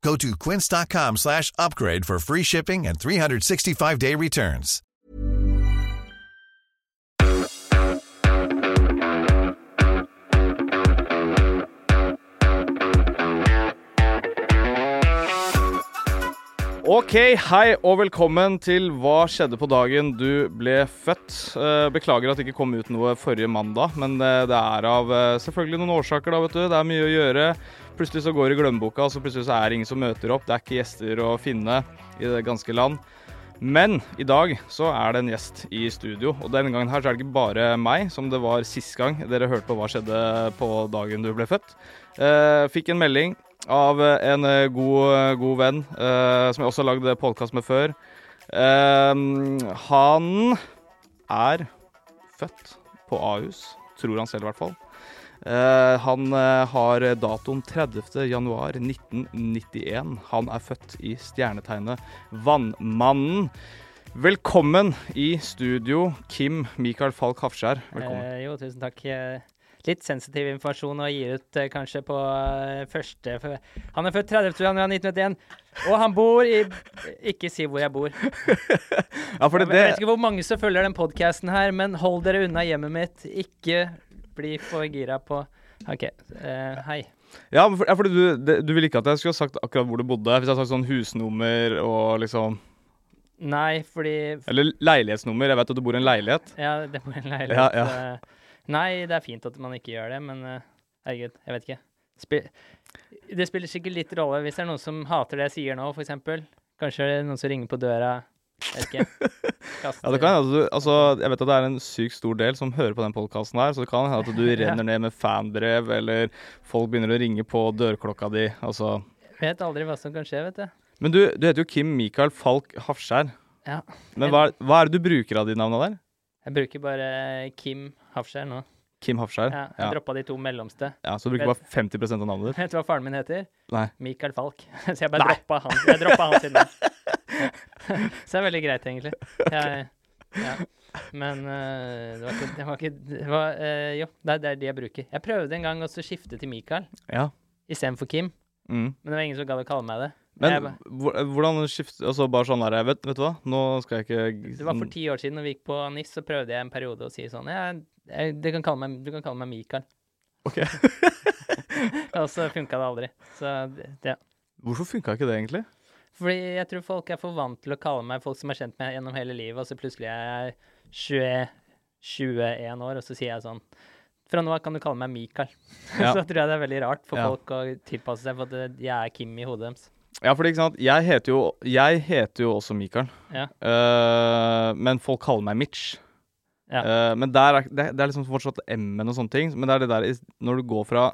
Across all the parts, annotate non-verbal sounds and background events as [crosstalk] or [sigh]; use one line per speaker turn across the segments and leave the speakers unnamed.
Go to quince.com slash upgrade for free shipping and 365-day returns.
Ok, hei og velkommen til Hva skjedde på dagen du ble født. Eh, Beklager at det ikke kom ut noe forrige mandag, men eh, det er av eh, selvfølgelig noen årsaker, da, vet du. Det er mye å gjøre. Plutselig så går det i glemmeboka, og så plutselig så er det ingen som møter opp. Det er ikke gjester å finne i det ganske land. Men i dag så er det en gjest i studio, og denne gangen her så er det ikke bare meg, som det var sist gang dere hørte på hva skjedde på dagen du ble født. Eh, fikk en melding av eh, en eh, god, eh, god venn, eh, som jeg også har lagd podkast med før. Eh, han er født på Ahus, tror han selv i hvert fall. Eh, han eh, har datoen 30.1.1991. Han er født i stjernetegnet Vannmannen. Velkommen i studio, Kim Mikael Falk Hafskjær. Velkommen.
Eh, jo, tusen takk. Eh, Litt sensitiv informasjon å gi ut eh, kanskje på eh, første for- Han er født 30. januar 1991, og han bor i Ikke si hvor jeg bor.
Ja, fordi
Jeg
det,
vet ikke hvor mange som følger den podkasten her, men hold dere unna hjemmet mitt. Ikke bli for gira på OK. eh, hei.
ja, men for, ja, fordi du, det, du ville ikke at jeg skulle ha sagt akkurat hvor du bodde. Hvis jeg hadde sagt sånn husnummer og liksom
Nei, fordi
Eller leilighetsnummer. Jeg vet at du bor i en leilighet.
Ja, det bor en leilighet.
Ja, ja.
eh, Nei, det er fint at man ikke gjør det, men eh, herregud, jeg vet ikke. Spi det spiller sikkert litt rolle hvis det er noen som hater det jeg sier nå, f.eks. Kanskje det er noen som ringer på døra. Jeg vet ikke. Kaster.
[laughs] Ja, det kan hende at du, altså, Jeg vet at det er en sykt stor del som hører på den podkasten her, så det kan hende
[laughs]
at du renner ned med fanbrev, eller folk begynner å ringe på dørklokka di. altså.
Vet aldri hva som kan skje, vet du.
Men du, du heter jo Kim Mikael Falk Hafskjær.
Ja.
Men hva, er- hva er det du bruker av de navna der?
Jeg bruker bare eh, Kim Hafskjær nå.
Kim Hafskjær?
Ja, jeg
ja.
droppa de to mellomste.
ja, Så du bruker bare 50 av
[laughs]
navnet ditt?
Vet du hva faren min heter?
Nei.
Michael Falk. [laughs] Så jeg bare
Nei.
droppa han. Jeg droppa han sin
[laughs]
navn. Så det er veldig greit, egentlig. Jeg, ja. Men eh, det var ikke Det var, ikke, det var eh, Jo, det er, det er de jeg bruker. Jeg prøvde en gang også å skifte til Michael
Ja.
istedenfor Kim,
Mm.
men det var ingen som gadd å kalle meg det. Jeg
Men
ba-
hvor- hvordan skifte Altså bare sånn der vet, vet du hva, nå skal jeg ikke
det var for ti år siden når vi gikk på NIS, så prøvde jeg en periode å si sånn ja, jeg, du, kan kalle meg, du kan kalle meg Michael.
Ok.
[laughs] Og så funka det aldri. Så det, ja.
Hvorfor funka ikke det, egentlig?
Fordi jeg tror folk er for vant til å kalle meg folk som er kjent med gjennom hele livet, og så plutselig er jeg 20, 21 år, og så sier jeg sånn Fra nå av kan du kalle meg Mikael. [laughs]
Ja.
så tror jeg det er veldig rart for
Ja.
folk å tilpasse seg, for at jeg er Kim i hodet deres.
Ja, fordi ikke sant, jeg heter jo, jeg heter jo også Mikael.
Ja.
Eh, men folk kaller meg Mitch.
Ja.
Eh, men der er, det, er- det er liksom fortsatt M-en og sånne ting. Men det er det der i- når du går fra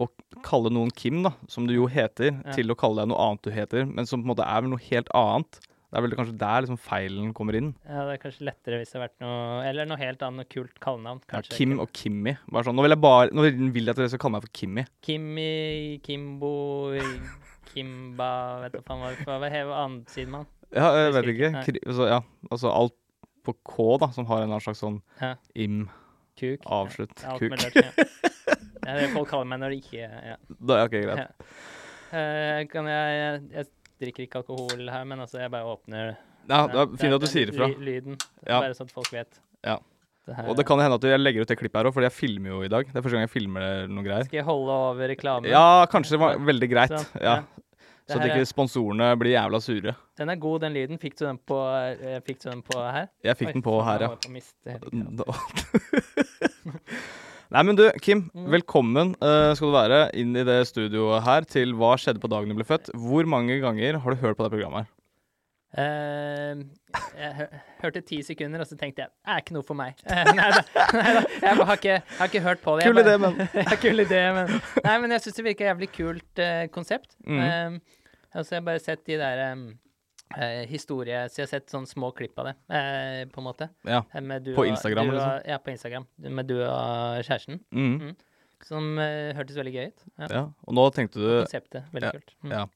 å kalle noen Kim, da, som du jo heter,
Ja.
til å kalle deg noe annet du heter, men som på en måte er vel noe helt annet. Det er vel kanskje der liksom feilen kommer inn.
Ja, det er kanskje lettere hvis det har vært noe Eller noe helt annet, noe kult kallenavn.
Ja,
Kanskje.
Kim og Kimmi. Bare sånn, nå vil jeg bare, nå vil jeg at dere skal kalle meg for Kimmi.
Kimmi, Kimbo, Kimba Vet du faen hva hva hva heter annet sidemann?
Ja, jeg vet
Jeg husker
ikke.
ikke,
Kri- Så, ja, altså alt på K, da, som har en eller annen slags sånn
Ja.
im,
Kuk?
avslutt,
Alt
kuk.
mulig rart, Ja. Det er det folk kaller meg når de ikke ja.
[laughs] Da, ok, greit.
Eh, kan jeg, jeg Jeg drikker ikke alkohol her, men altså, jeg bare åpner
Ja, det
Ja,
er fint at du
den
sier ifra.
ly- Lyden.
Ja.
Bare sånn at folk vet.
Ja.
Det her,
Og det kan hende at jeg legger ut det klippet her òg, fordi jeg filmer jo i dag. Det er første gang jeg filmer noen greier.
Skal jeg holde over reklamen?
Ja, kanskje det var veldig greit. Ja.
Sånn, ja. Det
Så at
her
ikke sponsorene blir jævla sure.
Den er god, den lyden. Fikk du den på, eh, fikk du den på her?
Jeg fikk den på her, [laughs] ja.
ja.
Da- Nei, men du, Kim.
Mm.
Velkommen eh, skal du være inn i det studioet her til Hva skjedde på dagen du ble født. Hvor mange ganger har du hørt på det programmet her?
Eh, jeg hø hørte ti sekunder, og så tenkte jeg det er ikke noe for meg. [laughs] Eh, nei da. nei da, Jeg bare har ikke, jeg har ikke hørt på [laughs] det. Jeg
Kul idé,
bare-
men
ja, kul idé, men Nei, men jeg syns det virker jævlig kult eh, konsept.
Mm.
Um, altså, jeg har bare sett de der um, eh, historie Så jeg har sett sånne små klipp av det, eh, på en måte.
Ja.
Eh, Med du
På
og-
Instagram,
du og,
liksom?
Ja, på Instagram. Med du og kjæresten.
Mm.
Som eh, hørtes veldig gøy ut. Ja.
Ja. Og nå tenkte du
Konseptet. Veldig kult. Mm.
Eh, Ja.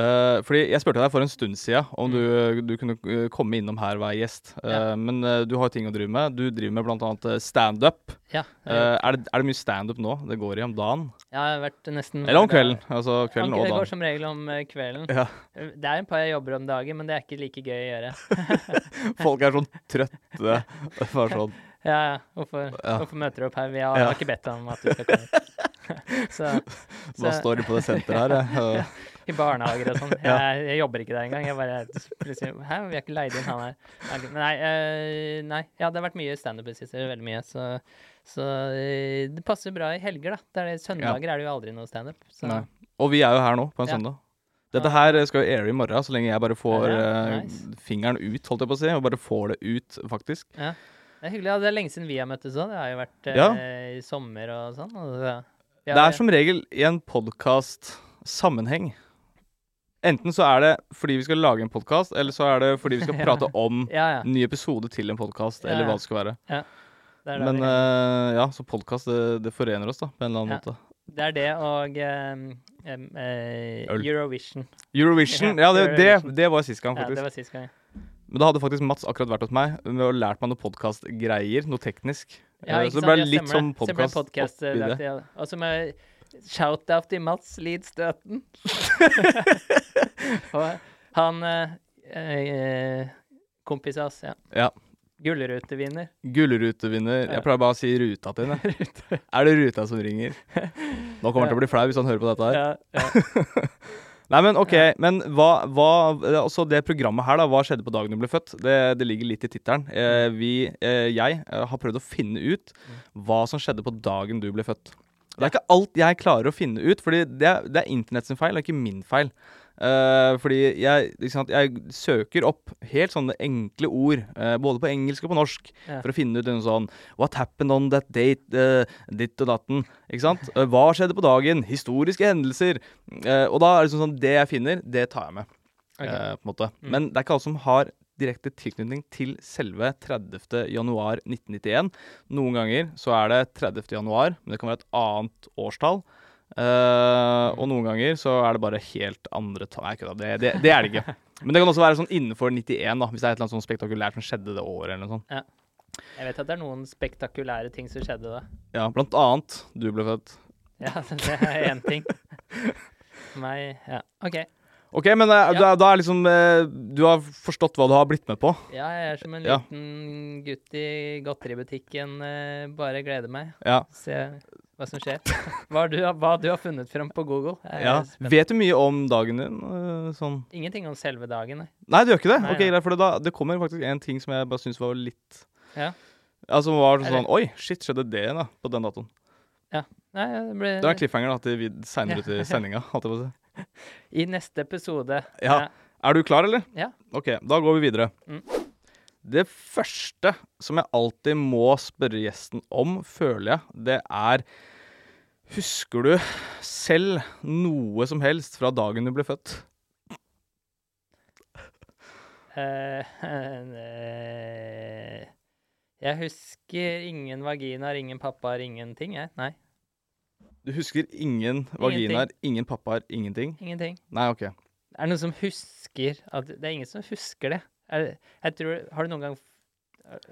Eh, fordi jeg spurte deg for en stund siden om du, du kunne eh, komme innom her og være gjest. Eh,
Mm. Ja.
Men eh, du har ting å drive med. Du driver med bl.a. standup.
Ja,
Uh,
eh,
er, det- er det mye standup nå? Det går i om dagen?
jeg har vært nesten
Eller om
hver
kvelden?
dag-
Altså kvelden og
Anke, Mm. Det går
dagen.
som regel om eh, kvelden.
Ja.
Det er en par jeg jobber om dagen, men det er ikke like gøy å gjøre.
Folk er sånn trøtte. Bare sånn
[laughs] Ja, ja. Hvorfor,
Ja.
hvorfor møter du opp her? Vi har,
Ja.
har ikke bedt deg om at du skal
[laughs]
komme. [laughs] Så,
Hva
så
står det på det senteret her?
[laughs]
jeg? Eh,
i barnehager og sånn.
[laughs] Ja.
Jeg, jeg jobber ikke der engang. Jeg bare plutselig Hæ, vi har ikke leid inn han her. Ok, men Nei, eh, nei. Ja, det har vært mye standup i det siste. Veldig mye. Så, så eh, det passer bra i helger, da. Det er det, søndager er det jo aldri noe standup. Så
Nei. Og vi er jo her nå, på en
Ja.
søndag. Dette her eh, skal jo aire i morgen, så lenge jeg bare får
Ja,
eh,
nice.
fingeren ut, holdt jeg på å si. Og bare får det ut, faktisk.
det er hyggelig. Ja, det er lenge siden vi har møttes òg. Det har jo vært eh,
Ja.
i sommer og sånn. Og, så- vi
Det
har-
er som regel i en podkast-sammenheng. Enten så er det fordi vi skal lage en podkast, eller så er det fordi
[laughs]
vi skal
Ja.
prate om
Ja, ja.
ny episode til en podkast,
Ja,
eller
ja.
hva det skal være.
Det er da
Men
vi-
eh, ja, så podkast, det, det forener oss, da, på en eller annen
Ja.
måte.
Det er det og um, um, eh,
Øl.
Eurovision.
Eurovision, ja,
Ja,
det,
Eurovision.
det, det var sist gang,
Ja,
faktisk.
det var sist gang.
Men da hadde faktisk Mats akkurat vært hos meg med å lært meg noe podkastgreier, noe teknisk.
Ja,
Eh,
ikke
så det
sant?
ble
Ja,
litt sånn
stemmer det. Så det ble
podkast
podcast, eh, lagt i, ja. Og så med shout-out til
[laughs]
Mats Lidstøten. og han eh, eh, kompis av oss, ja.
Ja.
Gullrutevinner.
Gullrutevinner. Jeg pleier bare å si ruta til henne. er det ruta som ringer? Nå kommer han til å bli flau hvis han hører på dette her.
Ja,
[laughs]
ja.
Nei, men OK. Men hva, hva eh, Også det programmet her, da. Hva skjedde på dagen du ble født? Det, det ligger litt i tittelen. Eh, vi, eh, jeg, eh, har prøvd å finne ut hva som skjedde på dagen du ble født. Det er ikke alt jeg klarer å finne ut, fordi det er, det er internett sin feil, og ikke min feil. Eh, fordi jeg, ikke sant, jeg søker opp helt sånne enkle ord, eh, både på engelsk og på norsk,
Ja.
for å finne ut noe sånn What happened on that date? eh, ditt og datten. Ikke sant? Eh, hva skjedde på dagen? Historiske hendelser. Eh, og da er det sånn, sånn Det jeg finner, det tar jeg med.
Ok.
eh, på en måte. Men det er ikke alle som har direkte tilknytning til selve 30. januar 1991. Noen ganger så er det 30. januar, men det kan være et annet årstall. Eh, og noen ganger så er det bare helt andre tall. Nei, kødda. Det, det, det er det ikke. Men det kan også være sånn innenfor 91, da, hvis det er et eller annet sånn spektakulært som skjedde det året. eller noe sånt.
Jeg vet at det er noen spektakulære ting som skjedde da.
Ja, Blant annet du ble født.
Ja, [laughs] det er én ting. Meg Ja, OK.
OK, men eh, da, da er liksom eh, Du har forstått hva du har blitt med på.
Ja, jeg er som en
Ja.
liten gutt i godteributikken. eh, Bare gleder meg.
Ja.
Se hva som skjer. [laughs] Hva du, har- hva du har funnet frem på Google. Jeg er
ja.
spent.
Vet du mye om dagen din? eh, sånn
Ingenting om selve dagen. nei.
Nei, du gjør ikke det?
Nei,
ok,
nei.
greit, for det, da, det kommer faktisk en ting som jeg bare syns var litt
Ja.
Altså var
Er det-
sånn Oi, shit, skjedde det da, på den datoen?
Nei, ja, det ble,
Det er en cliffhanger da, til vid-
Eh, Ja.
senere
[laughs]
ut i sendinga. holdt jeg på å si.
I neste episode.
Ja. Er du klar, eller?
Ja.
Ok, da går vi videre.
Mm.
Det første som jeg alltid må spørre gjesten om, føler jeg, det er Husker du selv noe som helst fra dagen du ble født?
Eh, [laughs] eh, jeg husker ingen vaginaer, ingen pappaer, ingenting. Jeg. Nei,
Du husker ingen vaginaer, ingen pappaer, ingenting?
ingenting.
Nei, OK.
Er det noen som husker at Det er ingen som husker det. Er, jeg tror, har du noen gang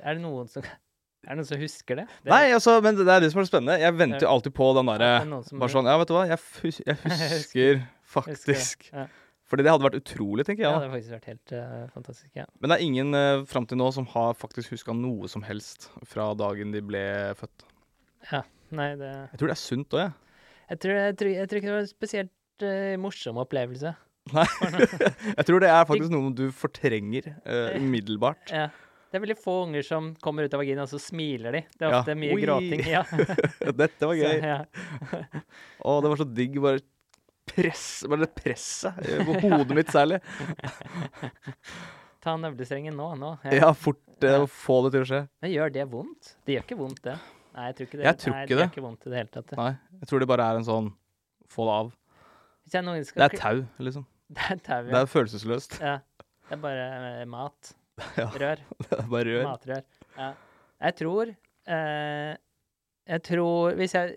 Er det noen som Er det noen som husker det? det
Nei, altså, men det det er det som er spennende. Jeg venter jo alltid på den derre
At det er noen som-
Bare sånn Ja, vet du hva, jeg, fus
[laughs]
jeg husker
husker det.
faktisk
Ja.
Fordi det hadde vært utrolig, tenker
Ja,
jeg.
det
da.
har faktisk vært helt eh, fantastisk. Ja.
Men det er ingen uh, fram til nå som har faktisk huska noe som helst fra dagen de ble født.
Nei, det
Jeg tror det er sunt òg, jeg. [laughs]
jeg tror, jeg, tror, jeg tror ikke det var en spesielt eh, morsom opplevelse. [laughs]
Jeg tror det er faktisk noe du fortrenger eh,
[laughs]
umiddelbart.
Ja. Det er veldig få unger som kommer ut av vaginaen, og så smiler de. Det er
Ja.
ofte mye
Oi. [laughs]
gråting. Ja.
Dette var
Så,
gøy.
ja.
Å, det var så digg. Bare press, bare det presset eh, på hodet mitt særlig.
Ta navlestrengen nå, nå. Ja.
Ja, fort eh, å få det til å skje.
Men gjør det vondt? Det gjør ikke vondt, det. Nei, jeg tror ikke det.
Jeg tror
Nei,
ikke
det.
det.
gjør ikke vondt i det hele tatt. det.
Nei, jeg tror det bare er en sånn få det av.
Hvis jeg noen
Det
skal
er tau, liksom.
[laughs] Det er tau,
Det
ja.
er følelsesløst. [laughs]
ja. Det er bare eh, mat.
Ja.
Rør.
Det er bare rør.
Matrør. Ja. Jeg tror eh, Jeg tror Hvis jeg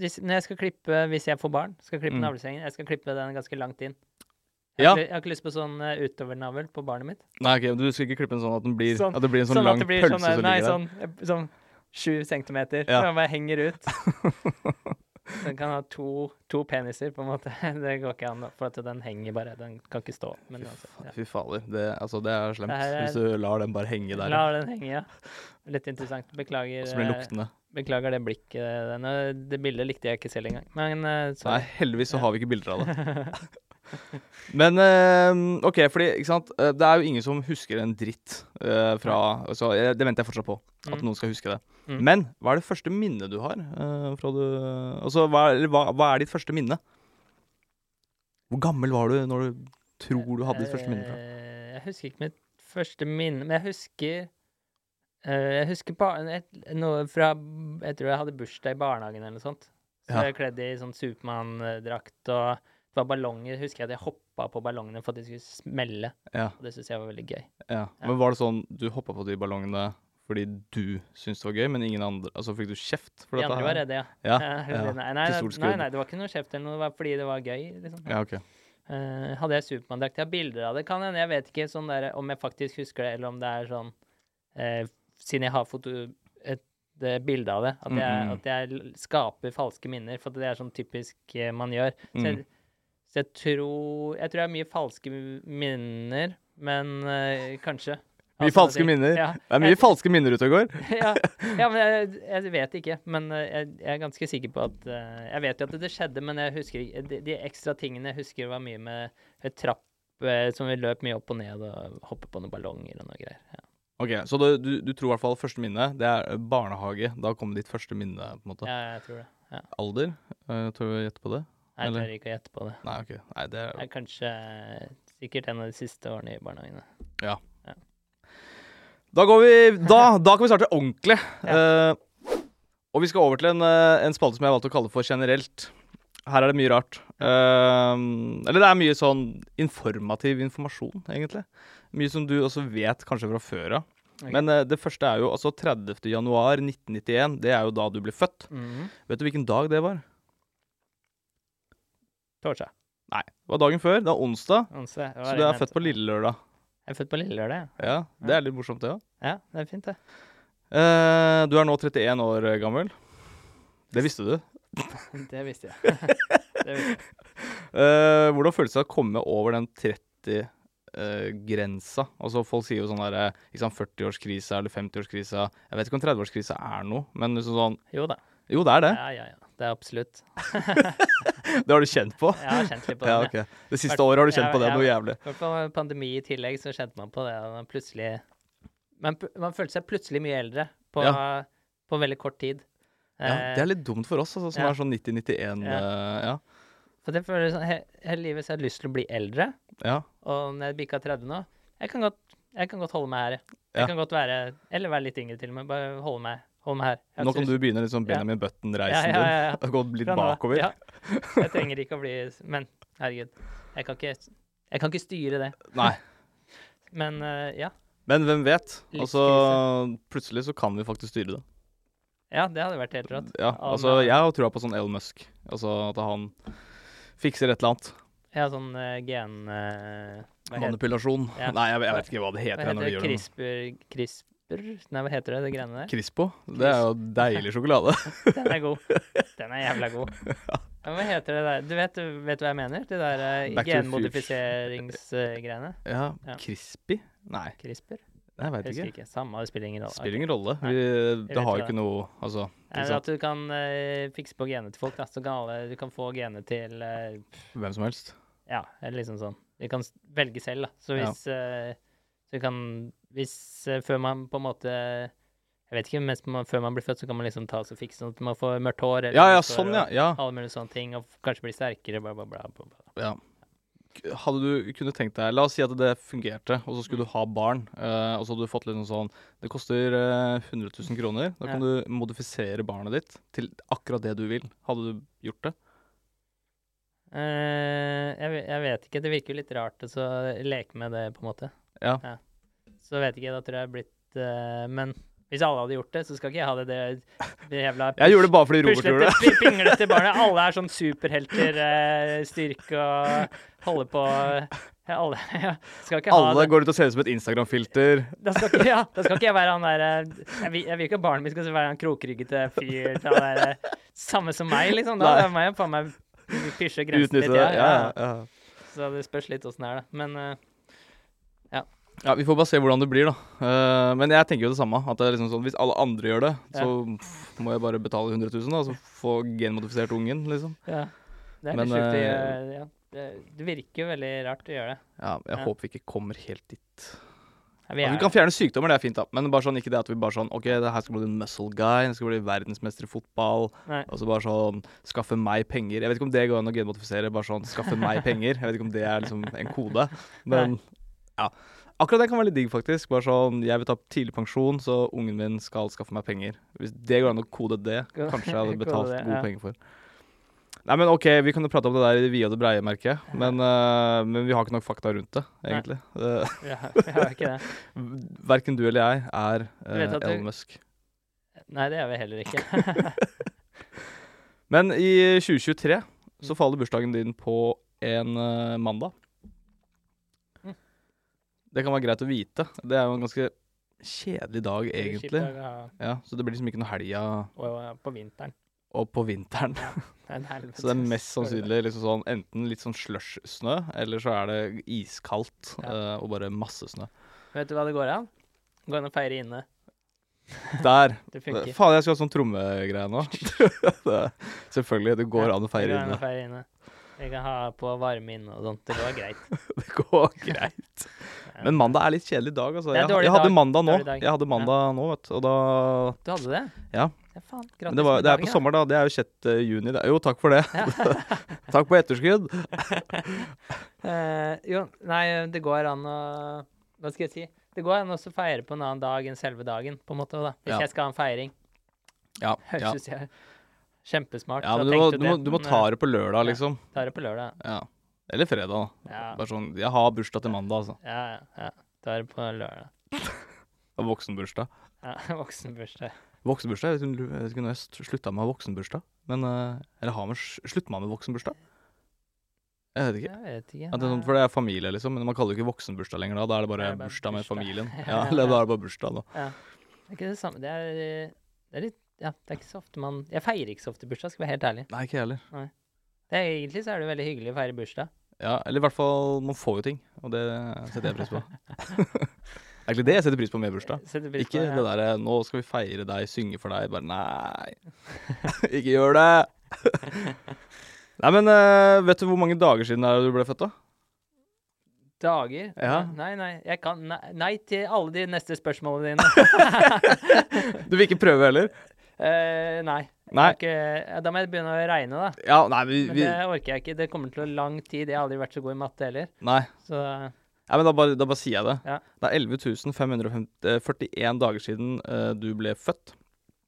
hvis, Når jeg skal klippe Hvis jeg får barn, skal jeg klippe
Mm.
navlesengen. Jeg skal klippe den ganske langt inn. Jeg,
Ja.
har, ikke- jeg har ikke lyst på sånn eh, utovernavl på barnet mitt.
Nei, ok, men du skal ikke klippe den sånn at, den blir,
Sånn-
at det blir en sånn,
sånn
lang
at det blir
pølse
sånn, eh,
som
Nei,
ligger der.
sånn, eh, sånn sju centimeter.
Ja.
Ja. Den bare henger
[laughs]
ut. Den kan ha to, to peniser, på en måte. [laughs] Det går ikke an, for at den henger bare. Den kan ikke stå. Men uansett. Ja.
Fy fader, det, altså, det er slemt
Det her er-
hvis du lar den bare henge der.
La den henge, ja. Litt interessant. Beklager.
Og så blir den
eh,
luktende.
Beklager det blikket. Den, eh, det bildet likte jeg ikke selv engang. Men eh,
Nei,
sorry.
heldigvis så
Ja.
har vi ikke bilder av det.
[laughs]
Men eh, OK, fordi ikke sant? eh, det er jo ingen som husker en dritt eh, fra altså, eh, Det venter jeg fortsatt på. At
Mm.
noen skal huske det.
Mm.
Men hva er det første minnet du har? eh, fra du, altså, hva, er- eller hva, hva er ditt første minne? Hvor gammel var du når du tror du hadde ditt første minne? fra?
Eh, Jeg husker ikke mitt første minne, men jeg husker eh, Jeg husker ba- et- noe fra Jeg tror jeg hadde bursdag i barnehagen eller noe sånt. Så
Ja.
jeg kledd i sånn Supermann-drakt, og det var ballonger. Husker jeg at jeg hoppa på ballongene for at de skulle smelle.
Ja,
Og det syns jeg var veldig gøy.
ja. Men var det sånn du hoppa på de ballongene fordi du syntes det var gøy, men ingen andre Altså fikk du kjeft for
De
dette?
andre var redde, ja.
Ja,
Eh,
ja.
Nei, nei, nei,
Pistolskudd.
nei, nei, det var ikke noe kjeft eller noe, det var fordi det var gøy, liksom.
Ja, ok.
Eh, hadde jeg Supermann-drakt? Jeg har bilder av det, kan hende. Jeg vet ikke sånn der, om jeg faktisk husker det, eller om det er sånn eh, Siden jeg har foto, et, eh, bilde av det, at jeg,
Mm, mm.
at jeg l- skaper falske minner. For det er sånn typisk eh, man gjør. Så, jeg,
Mm.
så jeg tror Jeg tror jeg har mye falske m- minner, men eh, kanskje.
Mye
Altså, at
falske
jeg-
minner.
Ja,
Det er mye
jeg,
falske minner ute og går.
[laughs] ja, ja, men jeg, jeg vet ikke. Men eh, jeg, jeg er ganske sikker på at eh, Jeg vet jo at det skjedde, men jeg husker ikke De, de ekstra tingene jeg husker, var mye med et trapp eh, som vi løp mye opp og ned, og hoppet på noen ballonger og noe greier. Ja.
Ok, Så du, du, du tror i hvert fall første minne, det er eh, barnehage. Da kom ditt første minne, på en måte.
ja, jeg tror det. Ja.
Alder? Eh, tør du å gjette på det?
Nei, Jeg
Eller-
tør ikke å gjette på det.
Nei, ok. Nei, det
Det
er,
er kanskje eh, sikkert en av de siste årene i barnehagene.
da går vi Da,
[laughs]
da kan vi starte ordentlig. Eh, og vi skal over til en, eh, en spalte som jeg valgte å kalle for generelt. Her er det mye rart. Eh, eller det er mye sånn informativ informasjon, egentlig. Mye som du også vet kanskje fra før av.
Ok.
Men eh, det første er jo altså 30. januar 1991. Det er jo da du ble født.
Mhm.
Vet du hvilken dag det var?
Torsdag.
Nei, det var dagen før. Det er onsdag.
Onsdag. det var
Så
det
du
jeg
er født
mente.
på lille lørdag.
Jeg er født på lille lørdag, ja.
Ja, det er litt morsomt, det òg.
ja. Det er fint, det.
du er nå 31 år gammel. Det visste du.
Det
[laughs]
visste jeg. det visste jeg.
Eh, hvordan føles det å komme over den 30-grensa? altså Folk sier jo sånn der eh, ikke sant, 40-årskrisa eller 50-årskrisa. Jeg vet ikke om 30-årskrisa er noe, men liksom sånn
Jo da.
Jo, det er det.
Ja, ja, ja. Det er absolutt.
Det har du kjent på.
Jeg har kjent litt på det.
Ja,
ja.
ok. Det siste året har du kjent på det
Ja,
noe
ja.
jævlig.
I hvert fall med pandemi i tillegg, så kjente man på det. at Man plutselig Man, pl- man følte seg plutselig mye eldre på, på veldig kort tid.
Ja,
Eh,
det er litt dumt for oss, altså, som
ja.
er sånn 90-91. eh, ja.
For det føles sånn he, Hele livet så har jeg lyst til å bli eldre,
ja.
og når jeg bikka 30 nå jeg kan, godt, jeg kan godt holde meg her. jeg. Jeg
Ja.
kan godt være Eller være litt yngre, til og med. Bare holde meg, holde meg her. Jeg har
Nå
ikke
kan
lyst-
du begynne litt sånn
Ja.
Benjamin
Ja,
Button-reisen
ja, ja, ja.
din. [laughs] Gå litt
Fra nå av.
bakover.
Ja. Jeg trenger ikke å bli Men herregud, jeg kan ikke, jeg kan ikke styre det.
Nei.
Men eh, ja.
Men hvem vet?
Livskrise.
Altså, plutselig så kan vi faktisk styre det.
Ja, det hadde vært helt rått.
Ja,
Av
altså,
med-
jeg har trua på sånn Elon Musk. Altså at han fikser et eller annet.
Ja, sånn eh, gen... eh, hva heter
Manipulasjon.
Ja.
Nei, jeg, jeg vet ikke hva det
Hva
heter.
heter
når vi
det?
gjør det.
CRISPR, CRISPR? Nei, hva heter det, det greiene der?
Crispo. Det er jo deilig sjokolade. [laughs]
Den er god. Den er jævla god. Men hva heter det der? Du vet, vet du hva jeg mener? De der uh,
Back to the
genmodifiseringsgreiene?
ja,
Ja.
Crispy? Nei,
CRISPR?
jeg veit
Jeg husker
ikke.
ikke. Samme, det spiller ingen rolle.
Spiller ingen rolle.
Nei,
Vi,
vet
det har jo
ikke
ikke noe Altså,
Nei,
ikke
men
sant?
at du kan eh, fikse på genet til folk, da, så kan alle, du kan få genet til eh,
hvem som helst.
Ja, eller liksom sånn. Vi kan s- velge selv, da. Så
Ja.
hvis eh, Så vi kan Hvis eh, Før man på en måte Jeg vet ikke, mens man, før man blir født, så kan man liksom ta og fikse sånn at man får mørkt hår eller
Ja, ja,
lyst hår,
sånn, ja.
og
ja.
Alle mulige sånne ting, og f- kanskje bli sterkere, bla, bla, bla. bla, bla.
ja. Hadde du kunne tenkt deg La oss si at det fungerte, og så skulle du ha barn. eh, og så hadde du fått litt noe sånn Det koster eh, 100 000 kroner. Da kan du modifisere barnet ditt til akkurat det du vil. Hadde du gjort det?
Eh, jeg, ve- jeg vet ikke, det virker jo litt rart å så leke med det, på en måte.
Ja.
Så vet ikke, da tror jeg det er blitt eh, Men hvis alle hadde gjort det, så skal ikke jeg ha det, det, det jævla
[laughs] Jeg gjorde det bare fordi Robert gjorde det.
puslete, [laughs] pinglete barnet. Alle er sånn superhelter, eh, styrke og holder på ja, Alle [laughs] ja. skal ikke ha
Alle
det.
går ut og ser ut som et Instagram-filter.
Da skal ikke, ja, da skal ikke jeg være han der eh, Jeg vil, jeg vil ikke at barnet mitt skal være han krokryggete fyr til han der eh, Samme som meg, liksom. Da
Nei.
er meg faen meg pysje grensen
Utnytte
litt.
det.
Ja,
Ja,
ja.
ja, ja.
Så det spørs litt åssen det er, da. Men eh,
Ja, Vi får bare se hvordan det blir, da. Eh, men jeg tenker jo det samme. At det er liksom sånn, Hvis alle andre gjør det,
Ja.
så pff, må jeg bare betale 100 000, da, så få genmodifisert ungen, liksom.
ja. Det er
Men,
litt sjukt. det,
eh,
eh, Ja. Det, det virker jo veldig rart å gjøre det.
Ja, Jeg
Ja.
håper vi ikke kommer helt dit.
Ja,
At
Vi
vi
er,
kan fjerne sykdommer, det er fint, da. Men bare sånn, ikke det at vi bare sånn OK, det her skal bli en muscle guy, det skal bli verdensmester i fotball.
Nei.
Og så bare sånn Skaffe meg penger. Jeg vet ikke om det går an å genmodifisere. Bare sånn Skaffe meg penger. Jeg vet ikke om det er liksom en kode. Men ja. Akkurat det kan være litt digg, faktisk. Bare sånn Jeg vil ta tidlig pensjon, så ungen min skal skaffe meg penger. Hvis det går an å kode det,
Kode- [laughs]
kanskje jeg hadde
kode
betalt
det,
gode
ja.
penger for. Nei, men OK, vi kan jo prate om det der i det vide og det breie, merker jeg. Men, eh, men vi har ikke nok fakta rundt det,
Nei.
egentlig. Uh,
ja, jeg har ikke det.
Verken du eller jeg er
Du vet
eh,
at du-
Elon Musk.
Nei, det er vi heller
[laughs]
ikke.
Men i 2023 så faller bursdagen din på en eh, mandag.
Mm.
Det kan være greit å vite. Det er jo en ganske kjedelig dag,
Kjipt
egentlig.
å ha-
Ja, så det blir liksom ikke noe helga
å- På vinteren.
og på
[laughs]
vinteren.
Nei, det er
Så det er mest
Sorry, da.
sannsynlig liksom sånn, enten litt sånn slush-snø, eller så er det iskaldt
Ja.
eh, og bare masse snø.
Vet du hva det går an? Gå inn og feire inne. [laughs]
Der!
Det funker.
Faen, jeg skulle hatt sånn trommegreie nå. [laughs] Det- Selvfølgelig. Det går
Ja,
an å
Det går
feire
an å
inne.
feire inne. Vi kan ha på varme inne og sånt. Det går greit.
Det går [laughs] greit. Men mandag er litt kjedelig dag, altså.
Det er
Jeg,
dårlig
jeg hadde
dag.
mandag nå.
Dårlig dag.
Jeg hadde mandag nå, vet du. Og da
Du hadde det?
Ja.
ja faen,
Men
gratis
det, var,
med
det er
dagen,
på
da.
sommer, da. Det er jo 6. juni. Det. Jo, takk for det. [laughs] takk på etterskudd.
Eh, jo, nei, det går an å Hva skal jeg si? Det går an å også feire på en annen dag enn selve dagen, på en måte. da. Hvis
Ja.
jeg skal ha en feiring. [laughs]
Ja, ja.
Høres ut som kjempesmart.
ja
så
men du må,
tenkte
du, må,
det,
du må
men,
ta
eh,
det på lørdag,
Ja.
liksom.
tar det på lørdag.
Ja. Eller fredag. da.
Ja,
Bare sånn Jeg har bursdag til mandag, altså.
ja, ja. ja. Tar det på lørdag.
Og Voksenbursdag.
Ja, [laughs] Voksenbursdag.
Voksenbursdag? Jeg vet ikke- jeg vet ikke når jeg s- slutta med å ha voksenbursdag. Men eh, Eller har man s- slutter man med voksenbursdag? Jeg vet ikke.
Jeg vet ikke.
Ja, det er sånn, for det er familie, liksom. Men man kaller det ikke voksenbursdag lenger da. Da er det bare,
Det er bare
bursdag med
bursdag.
familien.
[laughs]
Ja,
Ja.
eller da er det bare bursdag, da.
Det er ikke det samme. Det er, eh, det er litt Ja, det er ikke så ofte man Jeg feirer ikke så ofte bursdag, skal jeg være helt ærlig.
Nei, ikke jeg heller.
Det er, egentlig så er det veldig hyggelig å feire bursdag.
Ja, eller i hvert fall man får jo ting, og det setter jeg pris på. Det er Egentlig det jeg setter pris på med bursdag.
Setter pris på
Ikke
ja.
det derre 'nå skal vi feire deg, synge for deg', bare nei. [laughs] Ikke gjør det! Nei, men eh, vet du hvor mange dager siden er det du ble født, da?
Dager?
Ja.
Nei, nei. Jeg kan nei, nei til alle de neste
[laughs]
spørsmålene dine.
Du vil ikke prøve heller?
Eh, nei.
Nei.
Jeg kan ikke- da må jeg begynne å regne, da.
Ja, nei, vi,
Men
vi
det orker jeg ikke. Det kommer til å lang tid. Jeg har aldri vært så god i matte heller.
Nei.
Så
Ja, men da bare, da bare sier jeg det.
Ja.
Det er 11 541 eh, dager siden eh, du ble født.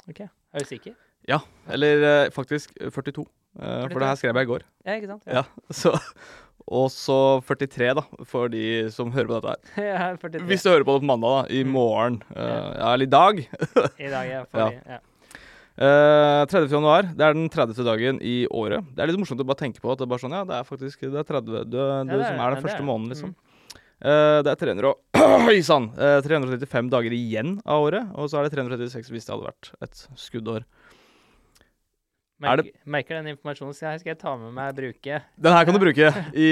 OK. Er du sikker?
Ja. Eller eh, faktisk 42, eh, for
42.
det her skrev jeg i går.
Ja, ikke sant?
Ja, så Og så 43, da, for de som hører på dette her.
[laughs] Jeg er 43
Hvis du hører på det på mandag, da, i
Mm.
morgen, eh,
Ja.
ja, eller i dag
i dag. Jeg får,
Ja.
ja. Ja.
eh, 30. januar, det er den 30. dagen i året. Det er litt morsomt å bare tenke på at det er bare sånn, ja, det er faktisk det er 30, du, er- du
det er
som
det.
er den
Ja, det er
første
det. Mm.
måneden, liksom. Eh, det er 300 og [clears throat] Oi sann! eh, 335 dager igjen av året, og så er det 336 hvis det hadde vært et skuddår. Er
Merker, merker den informasjonen, så her skal jeg ta med meg og bruke.
Den her kan du bruke i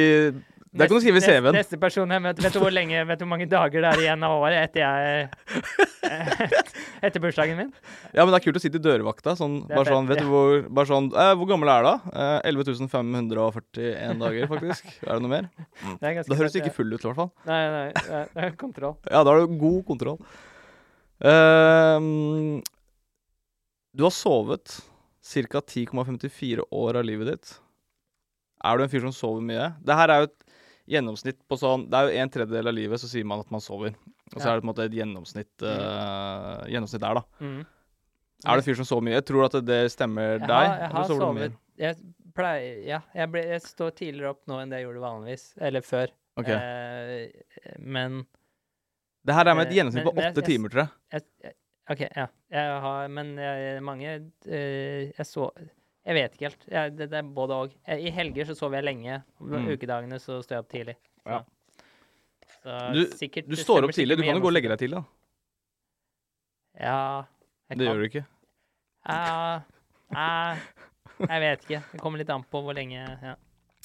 Det kan du skrive i
Neste-
CV-en.
Neste person jeg møter, vet du hvor lenge, vet du hvor mange dager det er igjen av året etter
[laughs]
jeg [laughs] Etter bursdagen min?
Ja, men det er kult å sitte i dørvakta. Sånn,
Det er
bare sånn,
fett,
vet du hvor, bare sånn eh, Hvor gammel er du, da? Eh, 11 541 dager, faktisk.
[laughs]
Er det noe mer?
Det er ganske
Da høres du
sant,
ikke full ut, i hvert fall.
ja. Nei, nei, nei, det er kontroll.
Ja, da har du god kontroll. Ehm, du har sovet ca. 10,54 år av livet ditt. Er du en fyr som sover mye? Det her er jo et gjennomsnitt på sånn Det er jo en tredjedel av livet så sier man at man sover. Og så
Ja.
er det på en måte et gjennomsnitt, eh, gjennomsnitt der, da.
Mm.
Er det en fyr som sover mye? Jeg tror at det stemmer
Jeg
deg.
har, jeg
eller
har
sover du mer?
sovet Jeg pleier Ja, jeg, ble, jeg eh, står tidligere opp nå enn det jeg gjorde vanligvis. Eller før.
Ok,
Eh, men
Det her er med et
Eh,
gjennomsnitt
men-
på
men jeg-
åtte
jeg-
timer, tror jeg.
Jeg, jeg, OK, ja. Jeg har, men jeg, mange eh, Jeg så Jeg vet ikke helt. Jeg, det, det er både og. Jeg, I helger så sover jeg lenge. På
Mm.
ukedagene så står jeg opp tidlig. Så.
Ja.
Så
Du-
sikkert-
Du
det
står
stemmer
opp tidlig.
sikkert
Du kan jo gå og
mye gjennomsnitt.
legge deg tidlig, da.
Ja. jeg
Det
kan.
gjør du ikke.
Ja, nei, jeg vet ikke. Det kommer litt an på hvor lenge ja.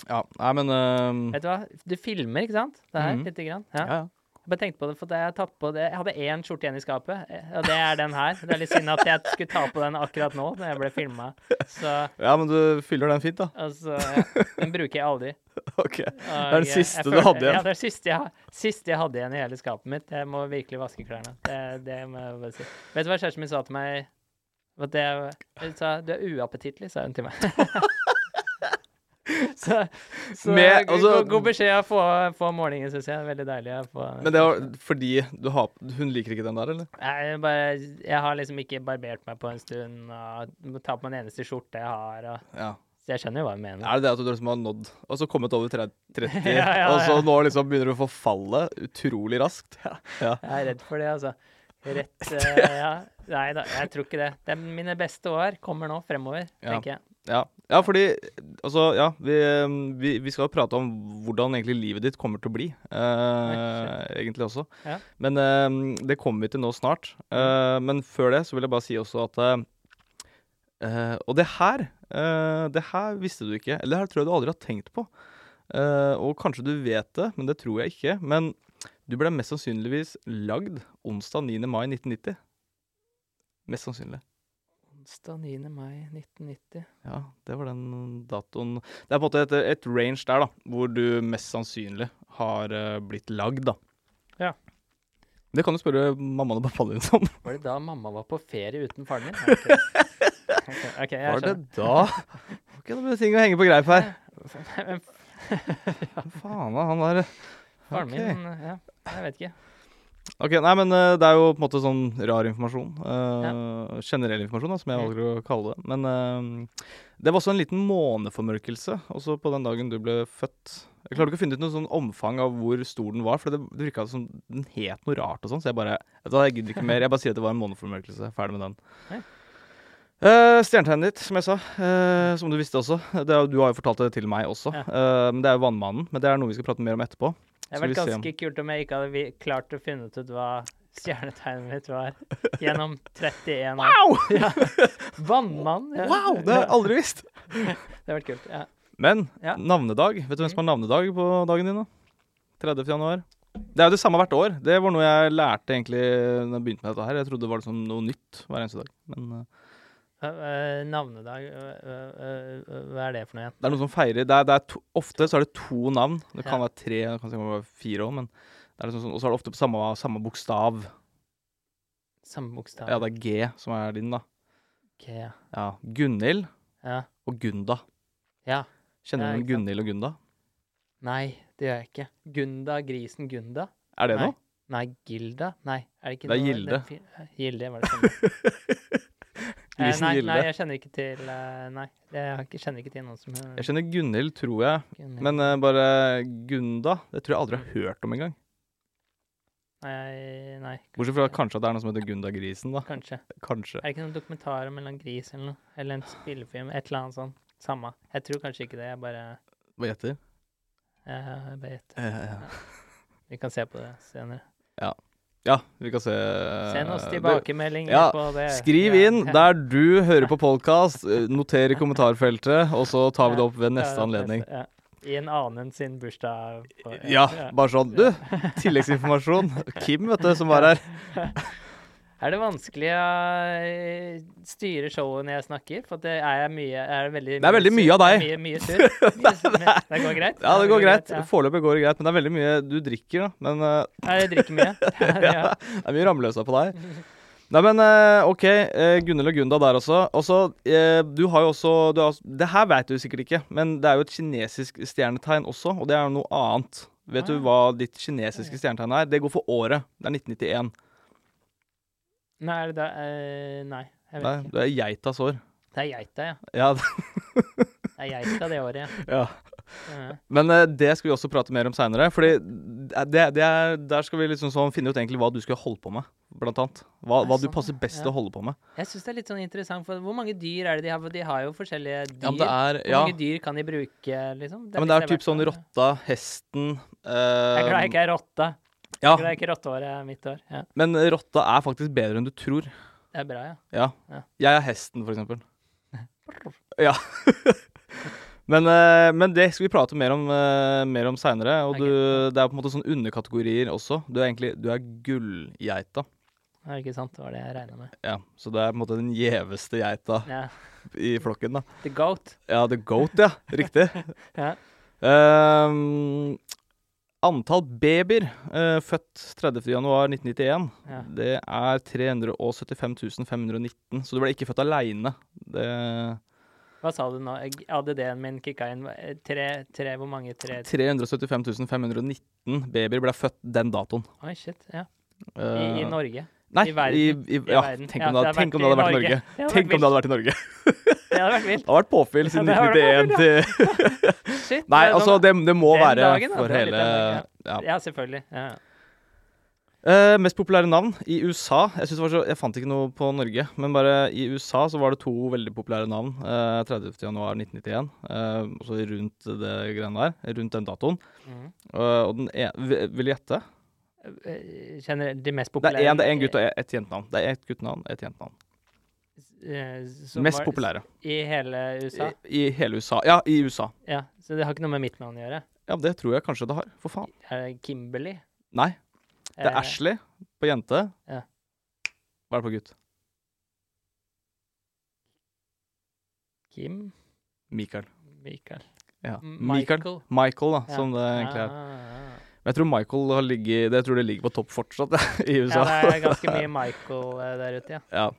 Ja, nei, men øhm,
Vet du hva? Du filmer, ikke sant? Det her,
Mhm.
lite grann.
Mm. ja,
Ja.
ja.
Jeg bare tenkte på det, for da jeg har tatt på det Jeg hadde én skjorte igjen i skapet, eh, og det er den her. Det er litt synd at jeg skulle ta på den akkurat nå, når jeg ble filma. Så
ja, men du fyller den fint, da. [laughs]
altså ja, Den bruker jeg aldri.
OK.
Og
Det er den
jeg-
siste
jeg
du
følte-
hadde igjen.
Ja, det er siste jeg, siste jeg hadde igjen i hele skapet mitt. Jeg må virkelig vaske klærne. Det, det må jeg bare si. Vet du hva kjæresten min sa til meg? At det, hun sa 'du er uappetittlig', sa hun til meg. [laughs] så så
Med- altså-
god, god beskjed å få, få om morgenen, syns jeg. Veldig deilig. å få-
Men det var fordi du har Hun liker ikke den der, eller?
jeg, bare, jeg har liksom ikke barbert meg på en stund, og må ta på den eneste skjorte jeg har. Og,
Ja.
så jeg skjønner jo hva hun mener.
Er det det at du liksom har nådd og så kommet over 30,
[laughs] Ja, ja,
og så
ja.
nå liksom begynner du å få fallet utrolig raskt? [laughs] Ja.
Jeg er redd for det, altså.
[laughs]
Rett eh, Ja. Nei da, jeg tror ikke det. det er mine beste år kommer nå fremover,
Ja.
tenker jeg.
Ja, ja fordi Altså, ja, vi, øhm, vi, vi skal prate om hvordan egentlig livet ditt kommer til å bli. eh, egentlig også.
Ja.
Men øhm, det kommer vi til nå snart. Eh, men før det så vil jeg bare si også at eh, eh, Og det her eh, Det her visste du ikke. Eller det her tror jeg du aldri har tenkt på. Eh, og kanskje du vet det, men det tror jeg ikke. Men du ble mest sannsynligvis lagd onsdag 9. mai 1990. Mest sannsynlig.
Onsdag 9. mai 1990.
Ja, det var den datoen Det er på en måte et, et range der, da, hvor du mest sannsynlig har eh, blitt lagd, da.
Ja.
Det kan du spørre mammaen og pappaen din om.
Var det da mamma var på ferie uten faren din? [laughs] Ok, Ok, ok, jeg
Var det
skjønner.
da Ok, da blir det ting å henge på greip her.
[laughs] Men
Faen, da, han der
faren
Ok.
min Ja, jeg vet ikke.
Ok, nei, men eh, det er jo på en måte sånn rar informasjon. eh, Generell informasjon, da, som jeg
Mm.
valger å kalle det. Men eh, det var også en liten måneformørkelse også på den dagen du ble født. Jeg klarte ikke å finne ut noe sånn omfang av hvor stor den var, for det, det virka som den het noe rart og sånn, så jeg bare vet du hva, Jeg gidder ikke mer. Jeg bare sier at det var en måneformørkelse. Ferdig med den.
Hei.
Eh, Stjernetegnet ditt, som jeg sa, eh, som du visste også. Det, er jo- du har jo fortalt det til meg også. Eh, men Det er jo Vannmannen. Men det er noe vi skal prate mer om etterpå.
Det hadde
Skal vi
vært
se om-
ganske kult om jeg ikke hadde vi- klart å finne ut hva stjernetegnet mitt var gjennom 31 år.
Au!
Vannmann! Ja.
Wow! Det har jeg aldri visst.
Det hadde vært kult. Ja.
Men
Ja. Mm.
navnedag Vet du hvem som har navnedag på dagen din? da? 30. januar. Det er jo det samme hvert år. Det var noe jeg lærte egentlig da jeg begynte med dette her. Jeg trodde det var liksom noe nytt hver eneste dag. Men eh,
Eh, eh, navnedag eh, eh, eh, Hva er det for noe igjen?
det er noen som feirer det er, det er to, Ofte så er det to navn. Det kan
Ja.
være tre, det kan sikkert være fire òg, men det er liksom sånn, Og så er det ofte på samme, samme bokstav.
Samme bokstav.
Ja, det er G som er din, da.
Ok, ja.
Ja. Gunhild
ja.
og Gunda.
Ja. Ja,
Kjenner du
ikke sant.
Gunhild og Gunda?
Nei, det gjør jeg ikke. Gunda, grisen Gunda?
Er det
Nei.
noe?
Nei, Gilda? Nei, er det ikke
Det er
noe
Gilde.
den fi- eh, Gilde, var det sånn? Eh,
[laughs] Grisen
nei, Nei,
Gilde.
jeg kjenner ikke til eh, Nei, jeg har ikke- kjenner ikke til noen som eh,
Jeg kjenner Gunhild, tror jeg.
Gunhild.
Men eh, bare Gunda, det tror jeg aldri jeg har hørt om engang.
Nei, nei,
Bortsett fra kanskje at det er noe som heter Gunda Grisen, da.
kanskje.
Kanskje.
Er det ikke noen dokumentar om en eller annen gris eller noe? Eller en spillefilm? Et eller annet sånt. Samme. Jeg tror kanskje ikke det. Jeg bare
Hva gjetter?
jeg bare gjetter.
Eh,
Vi kan se på det senere.
ja, vi kan se
Send oss
Det-
tilbakemeldinger
Eh, ja,
på det.
Skriv
Ja.
inn der du hører på podkast, noter i kommentarfeltet, og så tar vi det opp ved
Ja,
neste
det er
anledning.
neste, ja. I en annen sin bursdag. på-
Ja, bare sånn. Du, tilleggsinformasjon. Kim, vet du, som var her.
Er det vanskelig å eh, styre showet når jeg snakker? For at det er jeg mye er det veldig,
Det er veldig mye av deg.
Mye,
[laughs]
mye sur. Mye, sur, men det går greit?
Ja, det går greit.
ja.
Foreløpig går det greit, men det er veldig mye Du drikker, da. Men eh,
Nei, jeg
[laughs]
drikker mye. ja.
Det er mye rammeløsa på deg. Nei, men eh, OK. eh, Gunhild og Gunda der også. Og så, eh, du har jo også du har, Det her vet du sikkert ikke, men det er jo et kinesisk stjernetegn også, og det er jo noe annet. Vet
Ah.
du hva ditt kinesiske stjernetegn er? Det går for året. Det er 1991.
Nei, er det da eh, Nei, jeg vet
Nei,
ikke.
du er geitas år.
Det er geita, ja.
Ja, [laughs]
Det er geita det året, ja.
ja.
Mhm.
Men eh, det skal vi også prate mer om seinere. Fordi det, det er, der skal vi liksom sånn finne ut egentlig hva du skulle holde på med, blant annet. Hva,
Ja,
hva du
sånn,
passer
ja.
best
Ja.
til å holde på med.
Jeg syns det er litt sånn interessant, for hvor mange dyr er det de har? De har jo forskjellige dyr.
Ja, men det er,
Hvor
ja.
mange dyr kan de bruke, liksom?
ja, men det er
litt
typ sånn
hvert, da.
rotta, hesten
Jeg er glad jeg
eh,
ikke er rotta.
ja,
Jeg er glad jeg ikke er rottehåret er mitt hår. Ja,
Men rotta er faktisk bedre enn du tror.
det er bra, ja.
Ja.
Ja.
Jeg er hesten, for
[laughs]
eksempel. Ja. [laughs] men, eh, men det skal vi prate mer om, eh, mer om seinere. Og
Ok.
du, det er på en måte sånn underkategorier også. Du er egentlig du er gullgeita.
Det er ikke sant, det var det jeg regna med.
Ja, så det er på en måte den gjeveste geita
Ja.
i flokken, da.
The goat.
Ja, the goat, ja. Riktig.
Ja.
Ehm, antall babyer eh, født 30.1.1991,
Ja.
det er 375 519. Så du ble ikke født aleine.
Hva sa du nå? Jeg- ADD-en min kicka inn. Hva- eh, Tre, tre hvor mange? Tre
375 519 babyer ble født den datoen.
Oi, shit. Ja. I,
Eh,
I Norge.
nei,
i verden.
I, i,
I
ja,
verden.
tenk
Ja,
om det, hadde-
det har
tenk om
vært
det hadde
i
vært i
Norge.
Norge.
Det hadde vært
Tenk om det
vilt.
hadde vært i Norge.
Det hadde vært
Det
vilt.
har vært påfyll siden
Ja, det har
1991 til
Shit.
Nei,
det er
altså,
sånn-
det, det må
den
være
dagen, da,
for
det er litt
hele
den dagen,
ja.
Ja, selvfølgelig. Ja.
Eh, mest populære navn i USA jeg, synes det var så, jeg fant ikke noe på Norge, men bare i USA så var det to veldig populære navn. Eh, 30.1.1991, eh, også rundt det greiene der, rundt den datoen.
Mhm.
Eh, og den ene vil- Vil du gjette?
Eh, Generelt, de mest
Det
populære
er én det er en gutt og e- et jentenavn. Det er ett guttenavn, et jentenavn.
eh, som
Mest
var-
populære
I hele USA?
I, i hele USA. Ja, i USA.
Ja. Så det har ikke noe med mitt navn å gjøre?
Ja, det tror jeg kanskje det har. For faen.
Er det Kimberley?
Nei. Det er
Eh,
Ashley på jente.
Ja.
Hva er det på gutt?
Kim?
Michael.
Michael.
Ja.
M-
Michael.
Michael.
Michael, da,
Ja.
som det egentlig er.
Ah, ah, ah.
Men jeg tror Michael har ligget, det tror det ligger på topp fortsatt [laughs] i USA.
Ja, det er ganske mye Michael eh, der ute, ja.
[laughs] Ja.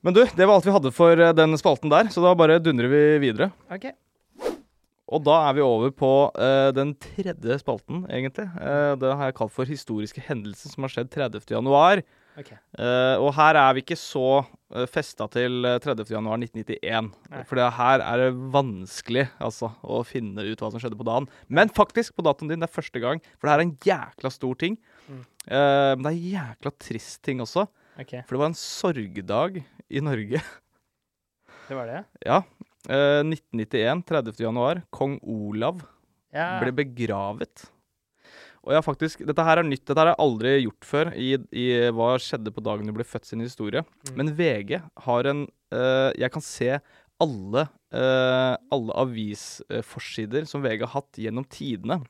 Men du, det var alt vi hadde for eh, den spalten der, så da bare dundrer vi videre.
OK.
Og da er vi over på eh, den tredje spalten, egentlig. Eh, det har jeg kalt for historiske hendelser som har skjedd 30. januar.
ok.
Eh, og her er vi ikke så uh, festa til eh, 30. januar 1991.
Nei.
For det her er det vanskelig altså, å finne ut hva som skjedde på dagen. Men faktisk, på datoen din, det er første gang. For det her er en jækla stor ting.
Mm.
Eh, men det er en jækla trist ting også.
ok.
For det var en sorgdag i Norge. [laughs]
Det var det?
ja. Eh, 1991, 30. januar. Kong Olav
Ja.
ble begravet. Og jeg har faktisk, Dette her er nytt. Dette her har jeg aldri gjort før i, i hva skjedde på dagen du ble født sin historie.
Mm.
Men VG har en eh, Jeg kan se alle, eh, alle avisforsider som VG har hatt gjennom tidene.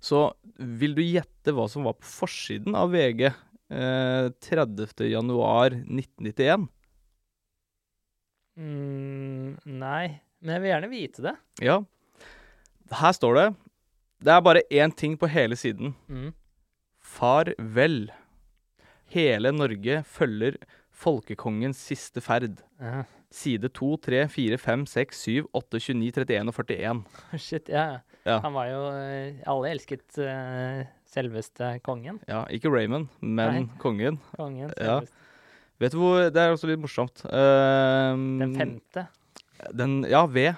Så vil du gjette hva som var på forsiden av VG eh, 30. januar 1991?
Mm, nei, men jeg vil gjerne vite det.
Ja. Her står det Det er bare én ting på hele siden.
Mm.
Farvel. Hele Norge følger folkekongens siste ferd.
Ja. [laughs]
Side 2, 3, 4, 5, 6, 7, 8, 29, 31 og 41.
Shit, ja.
Ja.
Han var jo eh, Alle elsket eh, selveste kongen.
Ja, ikke Raymond, men
Nei.
kongen.
Kongen
Ja.
selveste.
Vet du hvor Det er også litt morsomt. Ehm,
Den femte.
den- ja, V.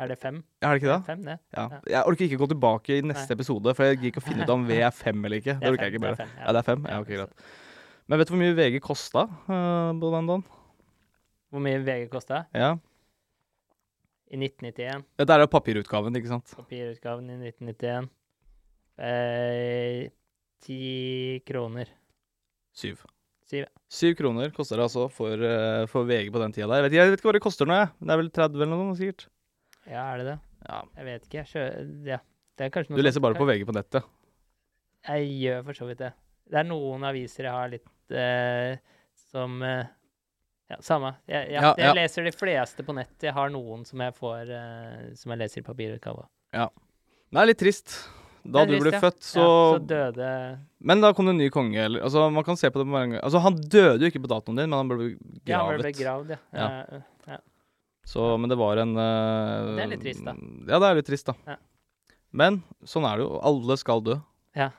Er det fem?
Er det ikke det?
Fem, det.
Ja.
Ja.
Jeg orker ikke gå tilbake i neste episode, for jeg gidder ikke å finne ut om V er fem eller ikke. Det
Det er
orker jeg
fem,
ikke bare.
det er fem,
Ja, det er fem? Ja, ok, greit. Men vet du hvor mye VG kosta eh, på den dagen?
Hvor mye VG kosta?
Ja.
I 1991.
Dette er jo papirutgaven, ikke sant?
Papirutgaven i 1991. Eh, Ti kroner.
Syv.
Syv.
Syv kroner koster det altså for, eh, for VG på den tida der. Jeg vet, ikke, jeg vet ikke hva det koster nå, jeg. Men Det er vel 30 eller noe, sikkert.
Ja, er det det?
Ja.
Jeg vet ikke. Jeg Sjø, ja. Det er kanskje noe
Du leser
sånt.
bare på VG på nettet.
Jeg gjør for så vidt det. Det er noen aviser jeg har litt eh, som eh, Ja, samme. Jeg, jeg,
Ja,
jeg
ja.
leser de fleste på nett. Jeg har noen som jeg får eh, som jeg leser i papirutgave.
Det er litt trist. Da
Det er
du ble
trist, ja.
født, så,
Ja, så døde
Men da kom det en ny konge. Eller, altså, man kan se på det på mange Altså, han døde jo ikke på datoen din, men han ble begravet.
Ja, han ble begravd, ja.
Ja.
Eh,
Så, men det var en eh,
Det er litt trist, da.
Ja, det er litt trist, da.
Ja.
Men sånn er det jo. Alle skal dø.
Ja.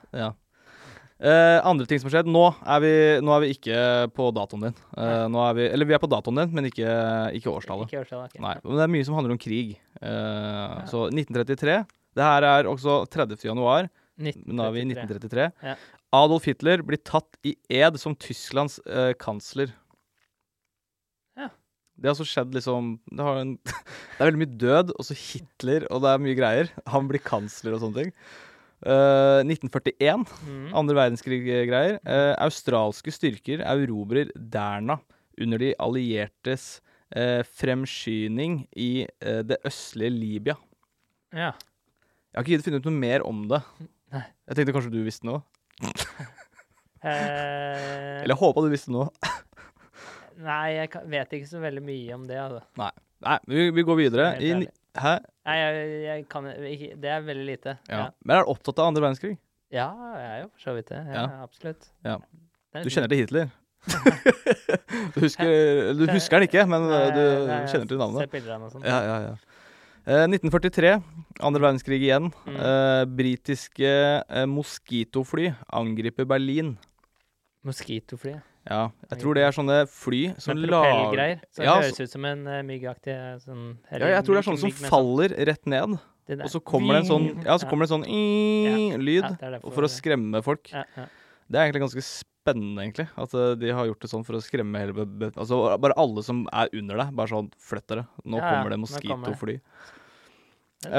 Eh, andre ting som har skjedd. Nå er vi, nå er vi ikke på datoen din. Eh, nå er vi, eller vi er på datoen din, men ikke, ikke årstallet.
Ikke årstallet. ok.
Nei, men det er mye som handler om krig. Eh, så 1933. Det her er også 30. januar, men da er vi i 1933.
Ja.
Adolf Hitler blir tatt i ed som Tysklands eh, kansler.
Ja.
Det har altså skjedd liksom det, har en, [laughs] det er veldig mye død, og så Hitler, og det er mye greier. Han blir kansler og sånne ting. Eh, 1941.
Mm.
Andre verdenskrig-greier. Eh, australske styrker erobrer Derna under de alliertes eh, fremskyning i eh, det østlige Libya.
Ja.
Jeg har ikke giddet å finne ut noe mer om det.
Nei.
Jeg tenkte kanskje du visste noe.
Eh,
Eller jeg håpa du visste noe.
Nei, jeg kan, vet ikke så veldig mye om det, altså.
Nei, vi, vi går videre.
Helt
I,
ærlig.
hæ?
Nei, jeg, jeg kan ikke Det er veldig lite.
Ja. Men er du opptatt av andre verdenskrig?
ja, jeg er jo for så vidt det. Ja,
Ja.
Absolutt.
Ja.
Det er
Du
litt-
kjenner til
[laughs]
Hitler? du, husker, du husker den ikke, men eh, du
Nei, nei, jeg
kjenner til navnet.
Ser bilder av den og sånn. sånt.
Ja, ja, ja. Eh, 1943, andre verdenskrig igjen.
Mm.
Eh, britiske eh, moskitofly angriper Berlin.
Moskitofly.
Ja, jeg tror det er sånne fly som
Med
lager
propellgreier. Så
Ja,
det
så-
høres ut som en uh, myggaktig eh, sånn
ja, jeg tror det er sånne som faller rett ned, og så kommer det en sånn Ja, så kommer det en sånn i- lyd og for å skremme folk.
Ja, ja.
Det er egentlig ganske spennende, egentlig, at eh, de har gjort det sånn for å skremme hele be- be- Altså bare alle som er under deg, bare sånn Flytt dere. Nå
Ja, ja,
kommer det
nå kommer det.
moskitofly. Eh,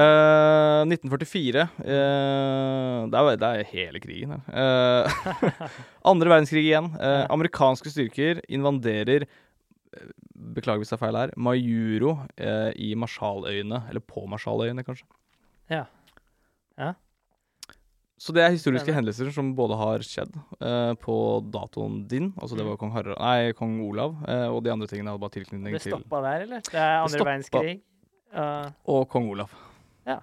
1944 eh, det, er, det er hele krigen, her. Eh, [laughs] andre verdenskrig igjen. Eh,
Ja.
Amerikanske styrker invaderer eh, Beklager hvis det er feil her. Majuro eh, i Marshalløyene. Eller på Marshalløyene, kanskje.
Ja. Ja.
Så det er historiske
Spennende.
hendelser som både har skjedd eh, på datoen din, altså
Mm.
det var kong, Harald, nei, kong Olav, eh, og de andre tingene hadde bare tilknytning
Det
til
stoppa der, eller? Det er andre
stoppa.
verdenskrig. og-
Og kong Olav.
Ja.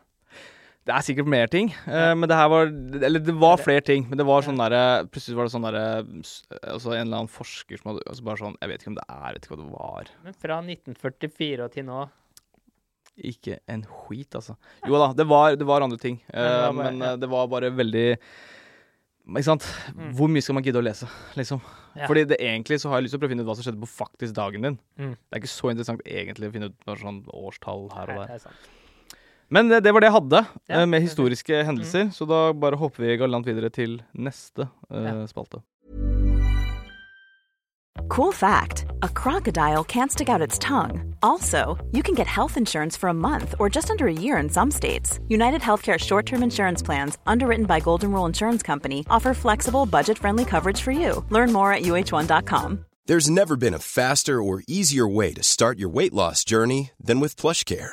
Det er sikkert mer ting, eh,
Ja.
men det her var Eller det var
Det-
flere ting, men det var sånn derre Plutselig var det sånn derre s- Altså en eller annen forsker som hadde altså Bare sånn Jeg vet ikke om det er, jeg vet ikke hva det var.
men fra 1944 og til nå
Ikke en skit, altså. Jo da, det var, det var andre ting, eh,
det var bare-
men
ja.
eh, det var bare veldig Ikke sant?
Mm.
Hvor mye skal man gidde å lese, liksom?
Ja.
Fordi det egentlig så har jeg lyst til å prøve å finne ut hva som skjedde på faktisk dagen din.
Mm.
Det er ikke så interessant egentlig å finne ut bare sånn årstall her og
Nei, det
der.
er sant.
Men det, det var det jeg hadde
Ja,
eh, med
det Mm. er fint.
historiske hendelser, så da bare hopper vi galant videre til neste eh, spalte.
Cool fact a crocodile can't stick out its tongue. Also, you can get health insurance for a month or just under a year in some states. United Healthcare short term insurance plans, underwritten by Golden Rule Insurance Company, offer flexible, budget friendly coverage for you. Learn more at uh1.com.
There's never been a faster or easier way to start your weight loss journey than with PlushCare.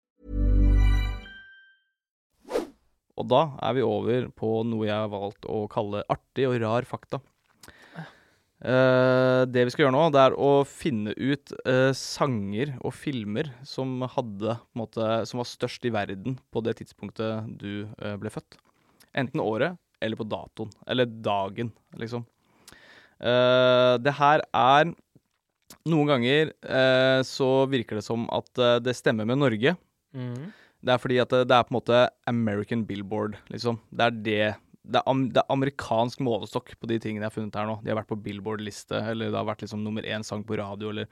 Og da er vi over på noe jeg har valgt å kalle artig og rar fakta. Eh, det vi skal gjøre nå, det er å finne ut eh, sanger og filmer som, hadde, på en måte, som var størst i verden på det tidspunktet du eh, ble født. Enten året eller på datoen. Eller dagen, liksom. Eh, det her er Noen ganger eh, så virker det som at eh, det stemmer med Norge.
Mhm.
Det er fordi at det, det er på en måte American Billboard, liksom. Det er det det er, am, det er amerikansk målestokk på de tingene jeg har funnet her nå. De har vært på Billboard-liste, eller det har vært liksom nummer én sang på radio, eller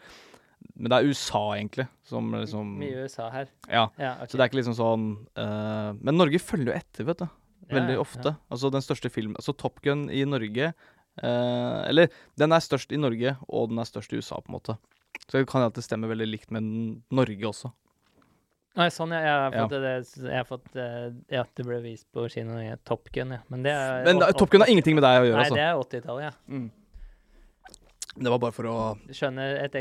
Men det er USA, egentlig, som liksom
Mye USA her.
Ja.
Ja, ok.
Så det er ikke liksom sånn eh, Men Norge følger jo etter, vet du. Veldig
ja,
ofte. Altså den største filmen Altså Top Gun i Norge eh, Eller den er størst i Norge, og den er størst i USA, på en måte. Så det kan hende at det stemmer veldig likt med n- Norge også.
Nei, sånn, ja. Jeg har
Ja.
fått, det, jeg har fått eh, ja, det ble vist på kino i Top Gun, ja. Men det er
Men da, Top Gun har ingenting med deg å gjøre,
Nei,
altså.
det er 80-tallet, ja.
Det var bare for å
Du skjønner et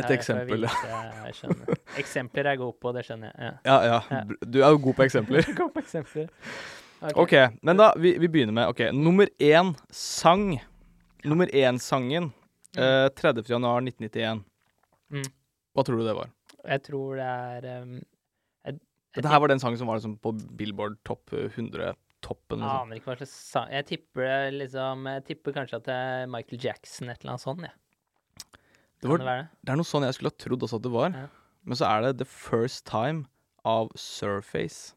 Et
her. for å
eksempel, ja.
vise- ja. Jeg skjønner. Eksempler er jeg god på, det skjønner jeg. Ja.
Ja, ja.
Ja.
Du er jo god på eksempler.
[laughs] Kom på eksempler.
OK, men da Vi, vi begynner med OK. Nummer én sang. Nummer én-sangen. Eh, 30. januar 1991.
Mm.
Hva tror du det var?
Jeg tror det er um, Jeg
Dette her var den sangen som var liksom på Billboard topp 100-toppen. Liksom.
aner ikke hva slags sang Jeg tipper det liksom Jeg tipper kanskje at det er Michael Jackson, et eller annet sånt. Ja.
Det,
Kan
var,
det være det?
det er noe sånn jeg skulle ha trodd også at det var.
Ja.
Men så er det The First Time av Surface.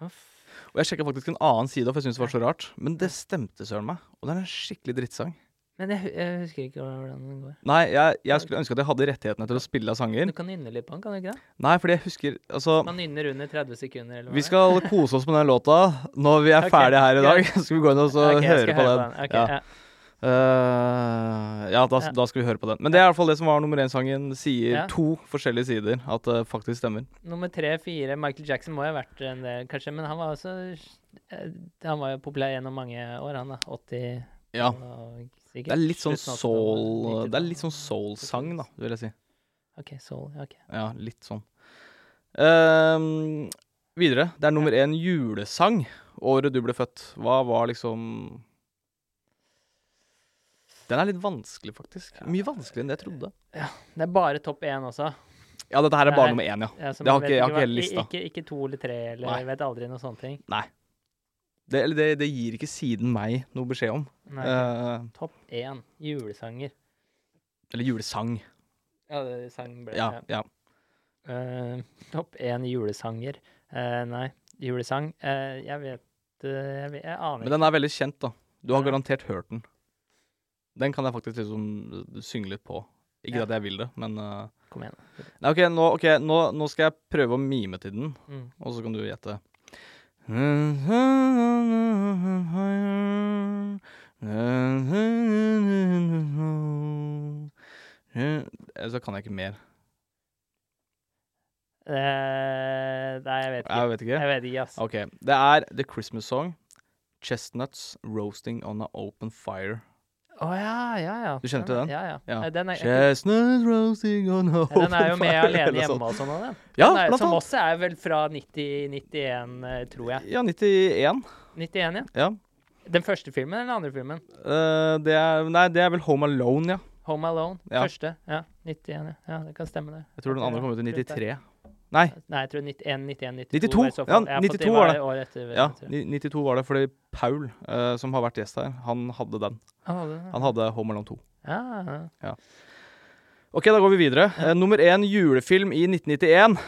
Hva f-
Og jeg sjekka faktisk en annen side, for jeg syntes det var så rart. Men det stemte søren meg. Og det er en skikkelig drittsang.
Men jeg, hu- jeg husker ikke hva- hvordan den går.
Nei, jeg, jeg skulle ønske at jeg hadde rettighetene til å spille av sanger.
Du kan nynne litt på den, kan du ikke det?
Nei, fordi jeg husker Altså,
Man nynner under 30 sekunder, eller hva
vi
det er.
skal kose oss med den låta når vi er
Ok,
ferdige her i dag.
greit.
Så [laughs] skal vi gå inn og så
Ok, jeg skal
altså høre på den.
Ok,
Ja.
ja.
Eh, ja, da,
Ja.
da skal vi høre på den. Men det er i hvert fall det som var nummer én-sangen. Sier
Ja.
to forskjellige sider at det faktisk stemmer.
Nummer tre, fire Michael Jackson må jo ha vært en del, kanskje. Men han var også eh, Han var jo populær gjennom mange år, han da. 80
Ja.
og sikkert.
Det er litt sånn
slutten av
soul
80-tallet,
Det er litt sånn soul-sang, da, vil jeg si.
OK, soul. ja, ok.
Ja, litt sånn. Ehm, videre. Det er nummer én julesang. Året du ble født. Hva var liksom Den er litt vanskelig, faktisk. Mye vanskeligere enn det jeg trodde.
Det er bare topp én også.
Ja, dette her er
Det
bare
er-
nummer én, ja.
Ja, så
Det har
man
ikke- jeg
vet
har ikke
hva-
hele lista.
Ikke, ikke to eller tre, eller
Nei.
jeg vet aldri noen sånne ting.
Det, eller det, det gir ikke siden meg noe beskjed om.
Nei,
Eh,
topp én julesanger.
eller julesang.
Ja, det sang ble
Ja, ja.
Eh, topp én julesanger. Eh, nei, julesang. Eh, jeg vet eh, jeg, vet, jeg aner
Men den
ikke.
er veldig kjent, da. Du har
Ja.
garantert hørt den. Den kan jeg faktisk liksom synge litt på. Ikke
Ja.
at jeg vil det, men eh,
Kom igjen.
Nei, OK, nå, ok, nå, nå skal jeg prøve å mime til den,
Mm.
og så kan du gjette. Eh, Så kan jeg ikke mer.
Eh, nei, jeg vet ikke.
Jeg vet ikke.
Jeg vet ikke, ass.
OK. Det er The Christmas Song. Chestnuts roasting on an open fire.
Å ja, ja, ja.
Du kjenner til den?
Ja, ja.
Ja.
Eh, Den er,
Chestnuts roasting on an
ja,
open fire.
den er jo med
eller
alene
noe sånt.
hjemme og sånn. og Den.
Ja,
den er,
blant
som
annet.
også er vel fra 90-91, tror jeg.
Ja, 91.
91, ja.
Ja.
Den første filmen eller den andre filmen?
Eh, det er, nei, det er vel Home Alone, ja.
Home Alone.
Ja.
Første. Ja, 91, ja. ja. Det kan stemme, det.
Jeg tror den andre kom ut i
Rundt der.
93. Nei,
Nei, jeg tror 91, 91, 92.
92,
i så fall.
ja,
Jeg har fått
92 var det.
Året etter,
ja,
tror jeg.
ni- 92 var det fordi Paul, eh, som har vært gjest her, han hadde den.
Ah, det-
Han hadde Home Alone 2.
Ja, ja.
Ok, da går vi videre. Eh, nummer én julefilm i 1991.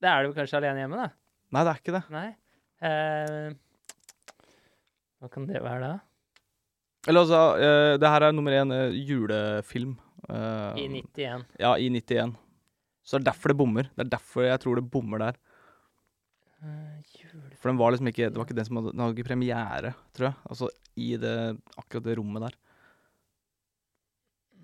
Det er du kanskje alene hjemme, da?
Nei, det er ikke det.
Nei. Eh, hva kan det være, da?
Eller altså, eh, det her er nummer én eh, julefilm. eh,
I 91.
Ja, i 91. Så det er derfor det bommer. Det er derfor jeg tror det bommer der.
Eh, jule...
For den var liksom ikke, det var ikke den som hadde, den hadde ikke premiere, tror jeg. Altså i det, akkurat det rommet der.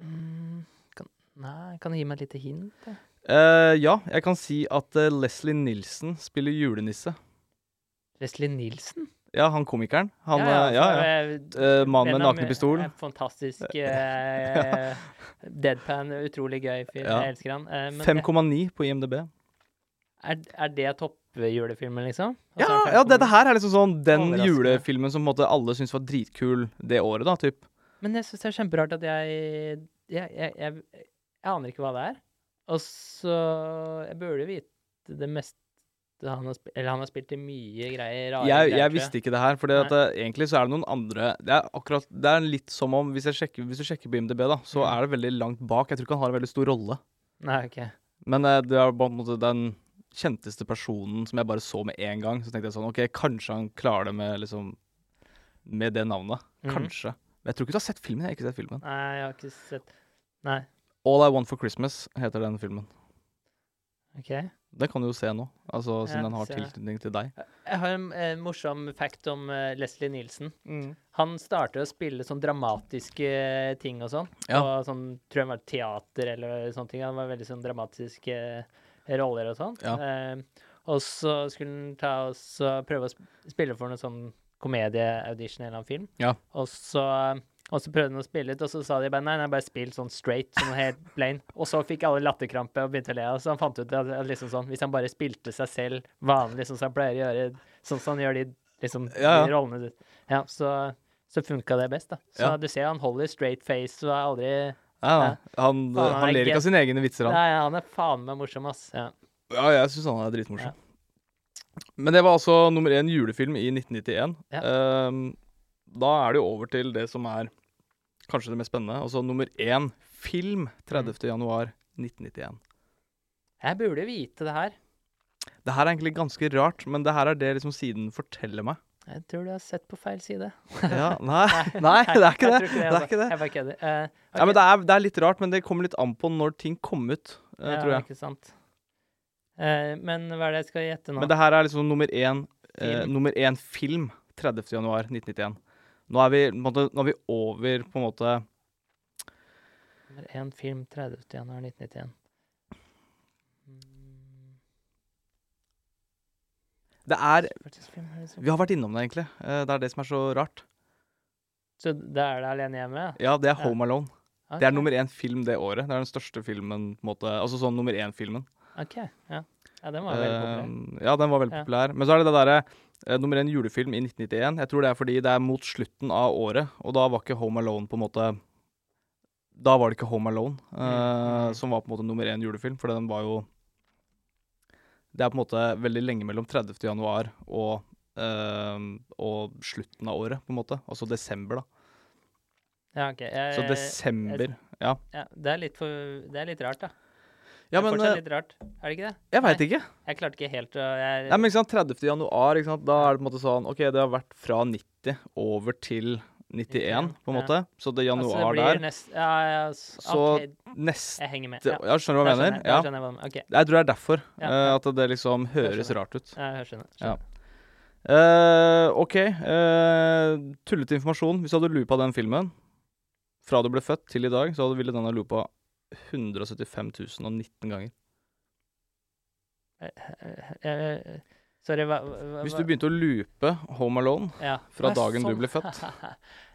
Mm, kan, nei, kan du gi meg et lite hint? da?
Eh, ja, jeg kan si at eh, Leslie Nilsen spiller julenisse.
Leslie Nilsen?
Ja, han komikeren. Han, ja, ja, ja,
altså, eh,
Eh, Mannen med
en av
nakne
mine-
pistol.
en
[laughs]
Fantastisk eh, deadpan, utrolig gøy fyr.
Ja.
Jeg elsker han. Eh, men
5,9 på IMDb.
er, er det toppjulefilmen, liksom?
Ja,
Altså,
ja, dette her er liksom sånn den
Overraskende.
julefilmen som på en måte alle syns var dritkul det året, da, typ.
Men jeg syns det er kjemperart at jeg jeg, jeg, jeg jeg aner ikke hva det er. Og så Jeg burde vite det meste han har, sp- eller han har spilt i mye greier. Rare
Jeg,
greier,
jeg visste ikke det her, for
Nei.
egentlig så er det noen andre Det er akkurat, det er litt som om Hvis, jeg sjekker, hvis du sjekker på IMDb, da, så
Mm.
er det veldig langt bak. Jeg tror ikke han har en veldig stor rolle.
Nei, ok.
Men eh, det er på en måte den kjenteste personen som jeg bare så med en gang. Så tenkte jeg sånn OK, kanskje han klarer det med liksom Med det navnet.
Mhm.
Kanskje. Men jeg tror ikke du har sett filmen. Jeg har ikke sett filmen.
Nei, jeg har ikke sett Nei,
All I Want for Christmas heter den filmen.
OK. Jeg
Den kan du jo se nå, altså siden
Ja,
den har
ser jeg.
tilknytning til deg.
har en eh, morsom fact om eh, Leslie Nielsen. Han startet å spille sånn dramatiske ting og sånn.
Ja.
Og sånn, tror jeg det var teater eller sånne ting. Han var veldig sånn dramatiske roller og sånn.
Ja.
Eh, og så skulle han ta og så prøve å sp- spille for noen sånn komedieaudition eller en film.
Ja.
Og så, og så prøvde han å spille litt, og så sa de bare nei, nei, bare spill sånn straight, sånn helt [laughs] plain. Og så fikk alle latterkrampe og begynte å le. Og så han fant ut at, at liksom sånn, hvis han bare spilte seg selv vanlig, sånn som han pleier å gjøre, sånn som han gjør de, liksom,
Ja, ja.
de rollene Ja, så, så funka det best, da. Så
Ja.
du ser han holder straight face og er aldri
Ja,
Ja.
Han,
Faen, han
han
er
ler
gen-
ikke av sine egne vitser, han.
Nei, han er faen meg morsom, ass. Ja.
Ja, jeg syns han er dritmorsom. Men det var altså nummer én julefilm i 1991.
Ja.
Ehm, da er det jo over til det som er kanskje det mest spennende. Altså nummer én film 30. januar 1991.
Jeg burde vite det her.
Det her er egentlig ganske rart, men det her er det liksom siden forteller
[laughs]
meg.
Jeg tror du har sett på feil side.
Ja, [laughs] nei, nei, det er ikke det.
jeg tror
Det er
altså.
ikke det.
Jeg bare kødder. Eh,
Ja,
ok.
men det er, det er litt rart, men det kommer litt an på når ting kom ut, eh,
Ja,
tror jeg.
Ikke sant. Eh, men hva er det jeg skal gjette nå?
Men det her er liksom nummer én, eh,
Film.
nummer én film 30. januar 1991. Nå er vi, på en måte, nå er vi over på en måte
Nummer én film 30. januar 1991. Mm,
Det er
sportsfilm, er det så-
Vi har vært innom det, egentlig. Eh, Det er det som er så rart.
Så da er det alene hjemme?
Ja, det er
Ja.
Home Alone.
ja?
Det er
Ok,
nummer én film det året. Det er den største filmen, på en måte. Altså sånn nummer én-filmen.
OK. Ja. ja, den var veldig
Eh,
populær.
Ehm, ja, den var veldig
Ja.
populær. Men så er det det derre eh, nummer én julefilm i 1991. Jeg tror det er fordi det er mot slutten av året, og da var ikke Home Alone på en måte Da var det ikke Home Alone
Mm,
eh, som var på en måte nummer én julefilm, for den var jo Det er på en måte veldig lenge mellom 30. januar og eh, og slutten av året, på en måte. Altså desember, da.
Ja, ok.
Så
Eh, Jeg-
desember Ja,
ja, det, er litt for, det er litt rart, da.
ja
det er
men
fortsatt
eh,
litt rart. Er det ikke det?
jeg veit ikke.
Jeg klarte ikke helt å jeg,
Nei, men ikke sant, 30. januar, ikke sant, da er det på en måte sånn OK, det har vært fra 90 over til 91, på en
Ja.
måte. Så det er
altså,
januar
det blir
der.
nest, ja, ja, s-
Så
ok,
Neste
jeg henger med.
ja.
Ja,
skjønner du hva jeg
da
mener?
skjønner jeg, da
Ja.
skjønner jeg hva du mener. OK.
Jeg tror det er derfor.
Ja,
eh,
ja.
At det liksom høres
skjønner.
rart ut.
Ja, jeg skjønner. skjønner.
Ja. Eh, OK. eh, tullete informasjon. Hvis du hadde loopa den filmen fra du ble født til i dag, så hadde- ville den ha loopa 175 019 ganger.
Eh, eh, Sorry, hva, hva
Hvis
hva-
du begynte å loope Home Alone
ja.
fra
Hva,
dagen du
sånn?
ble født.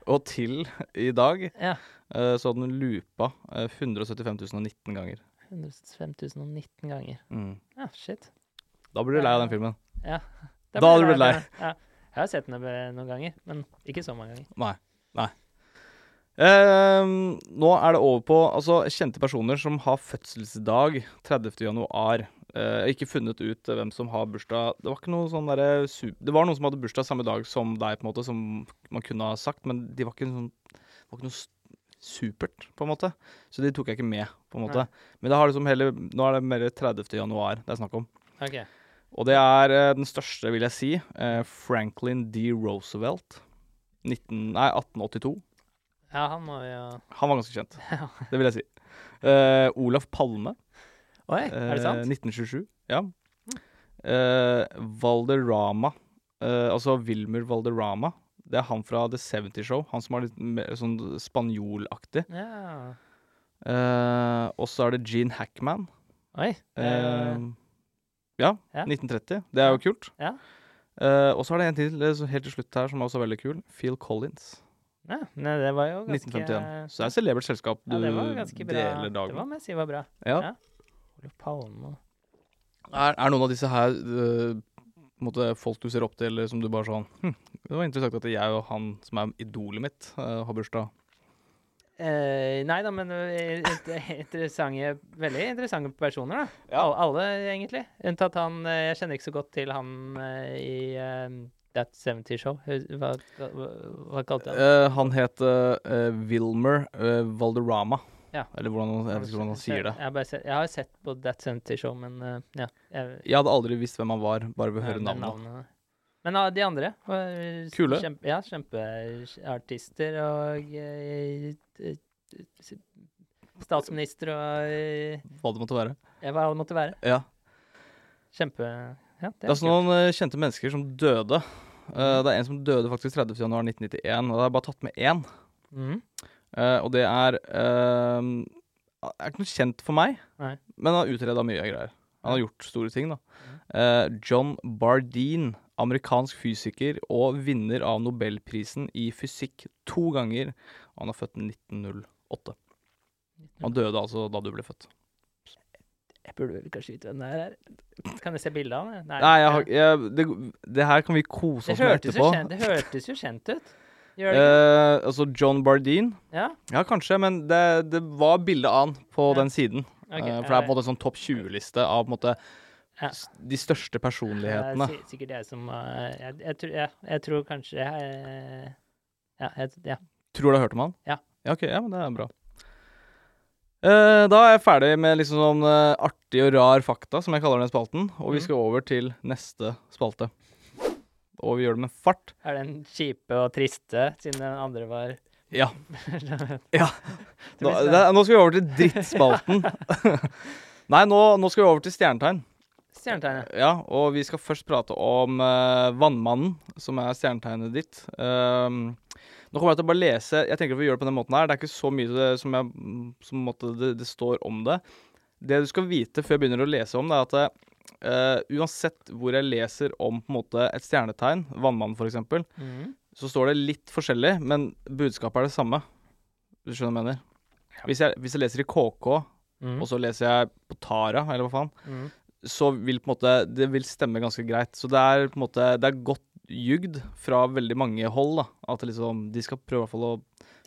og til i dag,
[laughs] Ja.
eh, så hadde den loopa eh, 175 019 ganger.
175 019 ganger. Ja, shit.
Da blir du lei av den filmen.
Ja.
Da hadde du
blir jeg
blitt lei.
av den. Ja. Jeg har sett den eh, noen ganger, men ikke så mange ganger.
Nei. Nei. Ehm, nå er det over på altså, kjente personer som har fødselsdag 30. januar. Eh, ikke funnet ut eh, hvem som har bursdag Det var ikke noe sånn derre su- Det var noen som hadde bursdag samme dag som deg, på en måte, som man kunne ha sagt, men de var ikke sånn Det var ikke noe s- supert, på en måte. Så de tok jeg ikke med, på en måte.
Nei.
Men det har liksom heller Nå er det mer 30. januar det er snakk om.
Ok.
Og det er eh, den største, vil jeg si, eh, Franklin D. Roosevelt. 19, nei, 1882.
Ja, han må jo
Han var ganske
[laughs]
kjent, det vil jeg si. Eh, Olaf Palme.
Oi, er det
eh,
sant? Mm.
1927. Ja. Eh, Valderrama. eh, altså Wilmer Valderrama. Det er han fra The 70 Show. Han som er litt mer sånn spanjolaktig.
Ja.
Eh, og så er det Gene Hackman.
Oi. det er jo-
Eh, ja,
Ja.
1930. Det er jo kult.
Ja.
Eh, og så er det en til eh, så helt til slutt her som er også veldig kul. Phil Collins.
ja. Nei, det var jo ganske
1951. Så det er et celebert selskap du
ja, det var ganske bra.
deler
Det
dag
var
med.
må jeg si var bra.
Ja.
ja. Olof Palme og
Er, er noen av disse her eh, på en måte folk du ser opp til, eller som du bare sånn hm, Det var interessant at jeg og han som er idolet mitt, eh, har bursdag.
Eh, nei da, men eh, int- [laughs] interessante, veldig interessante personer, da. Al- Alle, egentlig. Unntatt han eh, Jeg kjenner ikke så godt til han eh, i eh, That 70 Show. Hu- Hva, hva, hva kalte han
Eh, han het eh, eh, Wilmer eh, Valderrama.
Ja.
Eller hvordan, jeg vet ikke hvordan han sier det.
Jeg, har bare sett, jeg har sett på That 70 Show, men eh, ja. Jeg,
Jeg hadde aldri visst hvem han var, bare ved å høre
men
navnet.
navnet- Men ah, de andre var s-
Kule.
Kjempe, ja, kjempeartister og eh, eh, s- Statsminister og eh,
Hva det måtte være.
ja, Hva det måtte være.
Ja.
Kjempe... Ja,
Det er altså
kult.
noen eh, kjente mennesker som døde.
Mm.
Eh, det er en som døde faktisk 30.1.1991, og det er bare tatt med én.
Mhm.
Eh, og det er eh, Det er ikke noe kjent for meg,
Nei.
men han har utreda mye greier. Han har gjort store ting, da.
Mm.
Eh, John Bardeen, amerikansk fysiker og vinner av Nobelprisen i fysikk to ganger. Og han er født 1908. Han døde altså da du ble født.
Jeg burde vel kanskje vite hvem det her er. Kan jeg se bildet av han?
Nei, jeg har jeg, det, det her kan vi kose
det
oss med
hørtes, jo
sånn etterpå.
kjent, det hørtes jo kjent ut. Gjør det ikke?
Eh, altså John Bardeen.
ja?
Ja, kanskje, men det, det var bilde av han på
Ja.
den siden.
Ok,
Eh,
ja,
for det er
det-
på en måte sånn topp 20-liste av på en måte
Ja.
s- de største
Eh, Det er
personlighetene.
si- sikkert jeg som eh, jeg, jeg, tror- ja, jeg tror kanskje jeg, Ja, jeg, ja.
Tror du har hørt om han?
Ja.
Ja, ok, ja, men det er bra. Eh, da er jeg ferdig med liksom sånn eh, artig og rar fakta, som jeg kaller den spalten. Og vi
Mhm.
skal over til neste spalte. Og vi gjør det med fart.
Er den kjipe og triste, siden den andre var [laughs]
Ja.
Nå
ja. Nå,
blir det
det, nå skal vi over til drittspalten.
[laughs]
[laughs] Nei, nå, nå skal vi over til stjernetegn.
Stjernetegnet.
Ja, og vi skal først prate om eh, Vannmannen, som er stjernetegnet ditt. Ehm, nå kommer jeg til å bare lese Jeg tenker at vi gjør det på den måten her. Det er ikke så mye det, som, jeg, mm, som på en måte det, det står om det. Det du skal vite før jeg begynner å lese om det, er at eh, uansett hvor jeg leser om på en måte et stjernetegn, Vannmannen f.eks.,
Mhm.
så står det litt forskjellig, men budskapet er det samme. Hvis du skjønner hva jeg mener? Hvis jeg, hvis jeg leser i KK,
Mhm.
og så leser jeg på Tara, eller hva faen,
Mhm.
så vil på en måte Det vil stemme ganske greit. Så det er på en måte Det er godt jugd fra veldig mange hold, da. At liksom De skal prøve i hvert fall å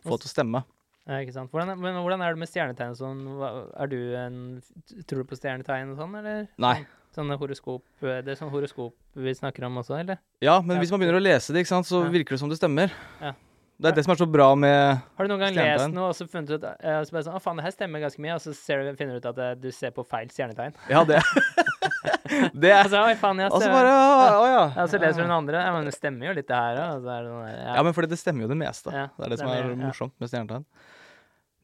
få det til å stemme.
Ja, ikke sant. Hvordan, er- men hvordan er det med stjernetegn og sånn? Hva- Er du en Tror du på stjernetegn og sånn, eller?
Nei.
Sånne horoskop Det er sånn horoskop vi snakker om også, eller?
Ja, men
Ja.
hvis man begynner å lese det, ikke sant, så
Ja.
virker det som det stemmer.
Ja.
Det er det som er så bra med
Har du noen gang lest
Stjernetegn.
noe og så funnet ut eh, og så bare sånn, Å, faen, det her stemmer ganske mye, og så ser du, finner du ut at eh, du ser på feil stjernetegn.
Ja,
[laughs]
det Det
Og [laughs]
er
så, Oi, faen, jeg
Og så
ser-
bare Å å, ja.
Altså, Ja, så leser du den andre. Ja, men det stemmer jo litt, det her òg. Og så er det sånn der
Ja, men fordi det stemmer jo det meste.
Ja,
det er det som
stemmer,
er
ja.
morsomt med stjernetegn.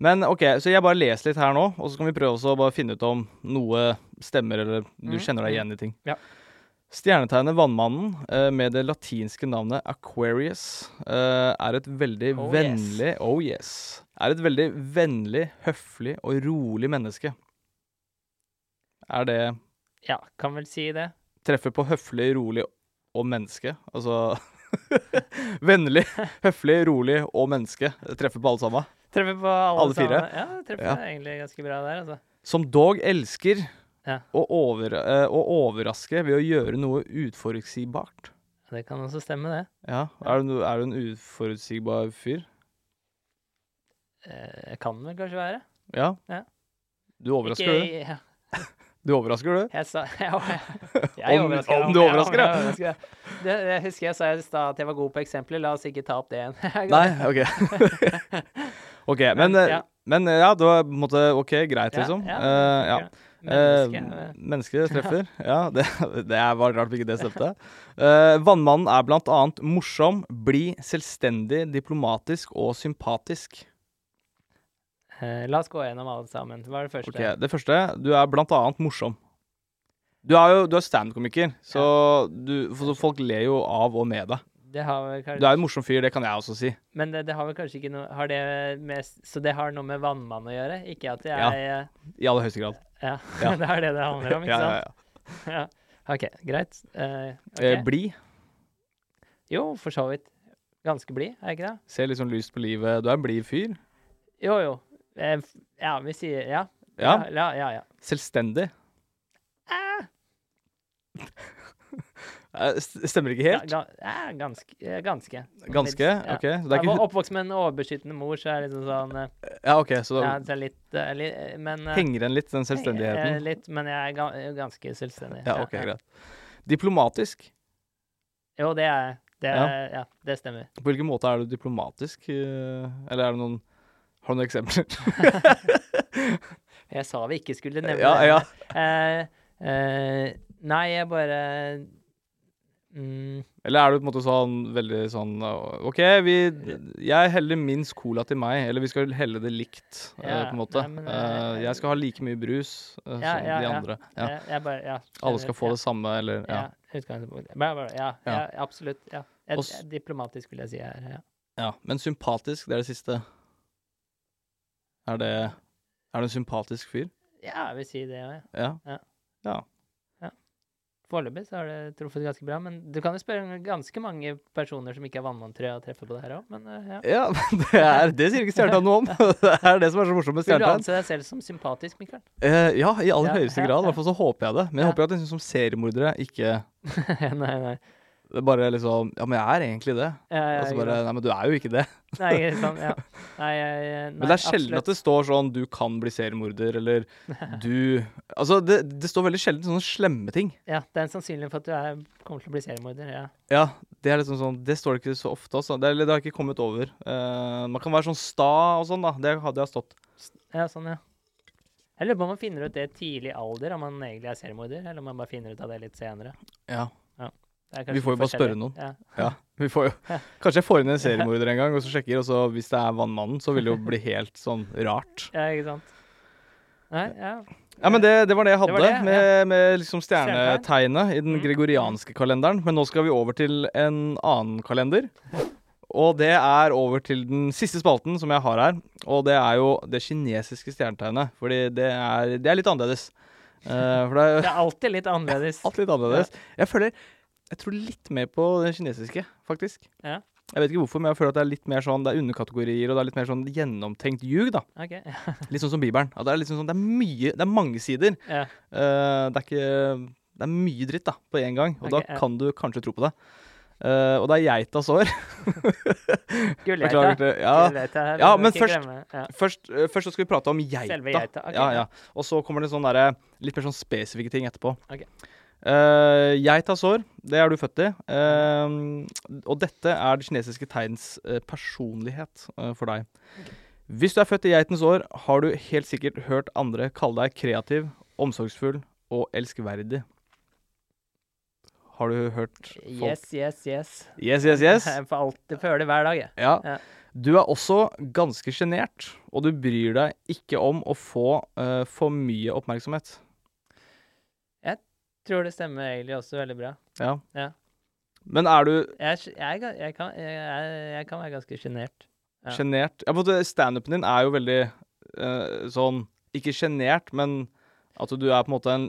Men OK, så jeg bare leser litt her nå, og så kan vi prøve også å bare finne ut om noe stemmer, eller du
Mm,
kjenner deg
mm.
igjen i ting.
Ja.
Stjernetegnet Vannmannen, eh, med det latinske navnet Aquarius, eh, er et veldig
Oh, yes.
vennlig Oh yes. Er et veldig vennlig, høflig og rolig menneske. Er det
Ja, kan vel si det.
treffer på høflig, rolig og menneske. Altså [laughs] Vennlig, høflig, rolig og menneske. Det Treffer på alle sammen.
Treffer på alle,
Alle fire?
sammen. Ja, det treffer
Ja.
egentlig ganske bra der, altså.
Som dog elsker
Ja.
å, over, eh, å overraske ved å gjøre noe utforutsigbart.
Det kan også stemme, det.
Ja, er du, no- er du en uforutsigbar fyr?
Eh, kan vel kanskje være.
Ja.
Ja.
Du overrasker,
Ikke-
du.
ja,
Du overrasker, du.
Jeg sa [laughs] Jeg,
Om-
overrasker deg,
om du
jeg
overrasker deg.
overrasker deg. Det, jeg husker jeg sa i stad at jeg var god på eksempler. La oss ikke ta opp det igjen. [laughs]
Nei, OK. [laughs] OK, men,
Men,
eh,
ja.
men eh, ja, det var på en måte OK, greit,
Ja,
liksom.
ja,
Eh, ja.
Menneske.
Eh, mennesker treffer. ja, det, det er- var rart ikke det stemte. Eh, vannmannen er blant annet morsom, blid, selvstendig, diplomatisk og sympatisk.
Eh, La oss gå gjennom alle sammen. Hva er det første?
Ok, Det første, du er blant annet morsom. Du er jo du er standup-komiker, så, du- for- så folk ler jo av og med deg.
Det har vel kanskje,
Du er en morsom fyr, det kan jeg også si.
Men det, det har vel kanskje ikke noe har det med, Så det har noe med vannmann å gjøre? Ikke at jeg
Ja.
eh,
I aller høyeste grad.
Ja,
Ja.
[laughs] det er det det handler om, ikke
Ja, ja,
sant?
ja.
Ja, OK, greit. Eh, ok.
Eh, Blid.
Jo, for så vidt. Ganske blid, er jeg ikke det?
Ser litt sånn lyst på livet. Du er en blid fyr.
Jo, jo. Eh, f- ja, vi sier ja.
Ja.
Ja, ja. ja.
Selvstendig. [laughs] Eh, s- Stemmer ikke helt?
Ga, ga, ja ganske, eh, ganske.
Ganske?
Ja.
OK. Så det er
Jeg
ikke
var oppvokst med en overbeskyttende mor, så jeg er liksom sånn eh,
Ja, ok, så
ja,
da
så er litt, eh, li- eh, men, eh,
henger den litt, den
eh,
selvstendigheten.
Litt, men jeg er ga, eh, ganske selvstendig.
Ja, ok, greit. Diplomatisk.
Jo, det er det.
Ja.
er- Ja, det stemmer.
På hvilken måte er du diplomatisk? eh, Eller er det noen Har du noen eksempler? [laughs]
Jeg sa vi ikke skulle nevne
ja,
det.
ja.
Eh, eh, nei, jeg bare mm,
Eller er du på en måte sånn veldig sånn eh, OK, vi Jeg heller minst cola til meg, eller vi skal helle det likt, eh,
Ja,
på en måte.
nei, men,
Eh,
eh,
Jeg skal ha like mye brus eh, som
ja, ja,
de
ja.
andre. Ja.
jeg, jeg bare, ja,
Alle skal få det samme, eller
Ja.
Ja.
utgangspunktet. Bare, bare, ja, ja.
Ja.
absolutt. Ja. Et,
Og s-
et diplomatisk, vil jeg si. Er, ja.
ja. Men sympatisk, det er det siste. Er det Er du en sympatisk fyr?
ja, jeg vil si det. Ja.
Ja.
Foreløpig så har det truffet ganske bra, men du kan jo spørre ganske mange personer som ikke er vannmann, tror jeg, og treffe på det her òg, men eh, ja.
Ja, [laughs] men det, er, det sier ikke stjernetegn noe om. [laughs] Det er det som er så morsomt med
Vil du
stjernetegn.
anse deg selv som sympatisk, [laughs] Mikael?
Eh, ja, i aller
Ja,
høyeste
ja,
grad. I
ja.
sånn hvert fall så håper jeg det. Men jeg
Ja.
håper jo at liksom, som seriemordere ikke
nei, nei.
Det er bare liksom Ja, men jeg er egentlig det.
Ja, Eh, ja,
Og så
ikke
Altså bare
sant.
Nei, men du er jo ikke det.
Nei, ikke sant, ja. Nei, jeg- jeg-
[laughs]
nei,
Men det er sjelden at det står sånn 'du kan bli seriemorder', [laughs] eller 'du Altså, det, det står veldig sjelden sånne slemme ting.
Ja, det er en sannsynlighet for at du er, kommer til å bli seriemorder. Ja.
Ja, det er liksom sånn Det står ikke så ofte, altså. Det, eller det har ikke kommet over. Eh, man kan være sånn sta og sånn, da. Det hadde jeg stått.
ja, sånn, ja. Jeg lurer på om man finner ut det i tidlig alder, om man egentlig er seriemorder, eller om man bare finner ut av det litt senere.
Ja.
Det er
Vi
kanskje
får jo bare
forskjellig.
spørre noen.
Ja.
ja. [laughs] Vi får jo Kanskje jeg får [laughs] inn en seriemorder en gang, og så sjekker, og så hvis det er Vannmannen, så vil det jo bli helt sånn rart.
ja, ikke sant. Nei, ja.
Ja, men det, det var det jeg hadde
Det var det, ja. Mm.
med, med liksom stjernetegnet i den gregorianske kalenderen. Men nå skal vi over til en annen kalender. Og det er over til den siste spalten som jeg har her. Og det er jo det kinesiske stjernetegnet. Fordi det er, det er litt annerledes. Eh, for det
[laughs] Det
er
er alltid litt annerledes.
[laughs] alt litt annerledes. Jeg føler Jeg tror litt mer på det kinesiske, faktisk.
Ja.
Jeg vet ikke hvorfor, men jeg føler at det er litt mer sånn Det er underkategorier, og det er litt mer sånn gjennomtenkt ljug, da.
Ok, ja.
Litt sånn som Bibelen. At det er liksom sånn Det er mye Det er mange sider.
ja.
Eh, det er ikke Det er mye dritt da, på én gang, og
Ok,
da
ja.
kan du kanskje tro på det. Eh, og det er geitas år. Beklager
Gullgeita.
til ja.
Gullgeita, det
Ja,
må vi
men
ikke
først-
glemme. Ja.
først, eh, først så skal vi prate om geita.
Selve geita, ok,
ja,
ja.
ja. Og så kommer det sånn derre litt mer sånn spesifikke ting etterpå.
Ok.
Eh, geitas år, det er du født i. Eh, og dette er det kinesiske tegns eh, personlighet eh, for deg. Hvis du er født i geitens år, har du helt sikkert hørt andre kalle deg kreativ, omsorgsfull og elskverdig. Har du hørt folk
Yes, yes, yes.
Yes, yes, yes.
[laughs] Jeg får alltid føle det hver dag, jeg.
Ja.
Ja.
Du er også ganske sjenert, og du bryr deg ikke om å få eh, for mye oppmerksomhet.
Tror det stemmer egentlig også veldig bra.
Ja.
Ja.
Men er du
Jeg, er sj- jeg, er ga- jeg, kan, jeg, er- jeg kan være ganske sjenert. Ja.
sjenert ja. ja, Standupen din er jo veldig eh, sånn Ikke sjenert, men at du er på en måte en,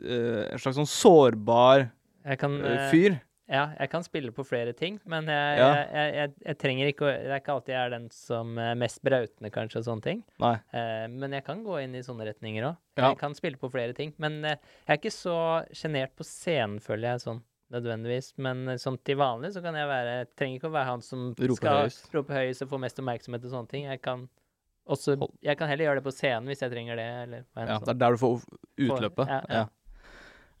eh, en slags sånn sårbar
Jeg kan,
eh,
eh,
fyr.
Ja, jeg kan spille på flere ting, men jeg,
Ja.
jeg, jeg, jeg, jeg trenger ikke å Det er ikke alltid jeg er den som er mest brautende, kanskje, og sånne ting.
Nei.
Eh, men jeg kan gå inn i sånne retninger òg.
Ja.
Jeg kan spille på flere ting. Men eh, jeg er ikke så sjenert på scenen, føler jeg, sånn nødvendigvis. Men eh, sånn til vanlig så kan jeg være jeg Trenger ikke å være han som
Roper
skal
høyest.
rope høyest og få mest oppmerksomhet og sånne ting. Jeg kan også
Hold-
Jeg kan heller gjøre det på scenen hvis jeg trenger det, eller hva enn
Ja,
sånn.
det er der du får utløpet.
ja,
Ja,
ja.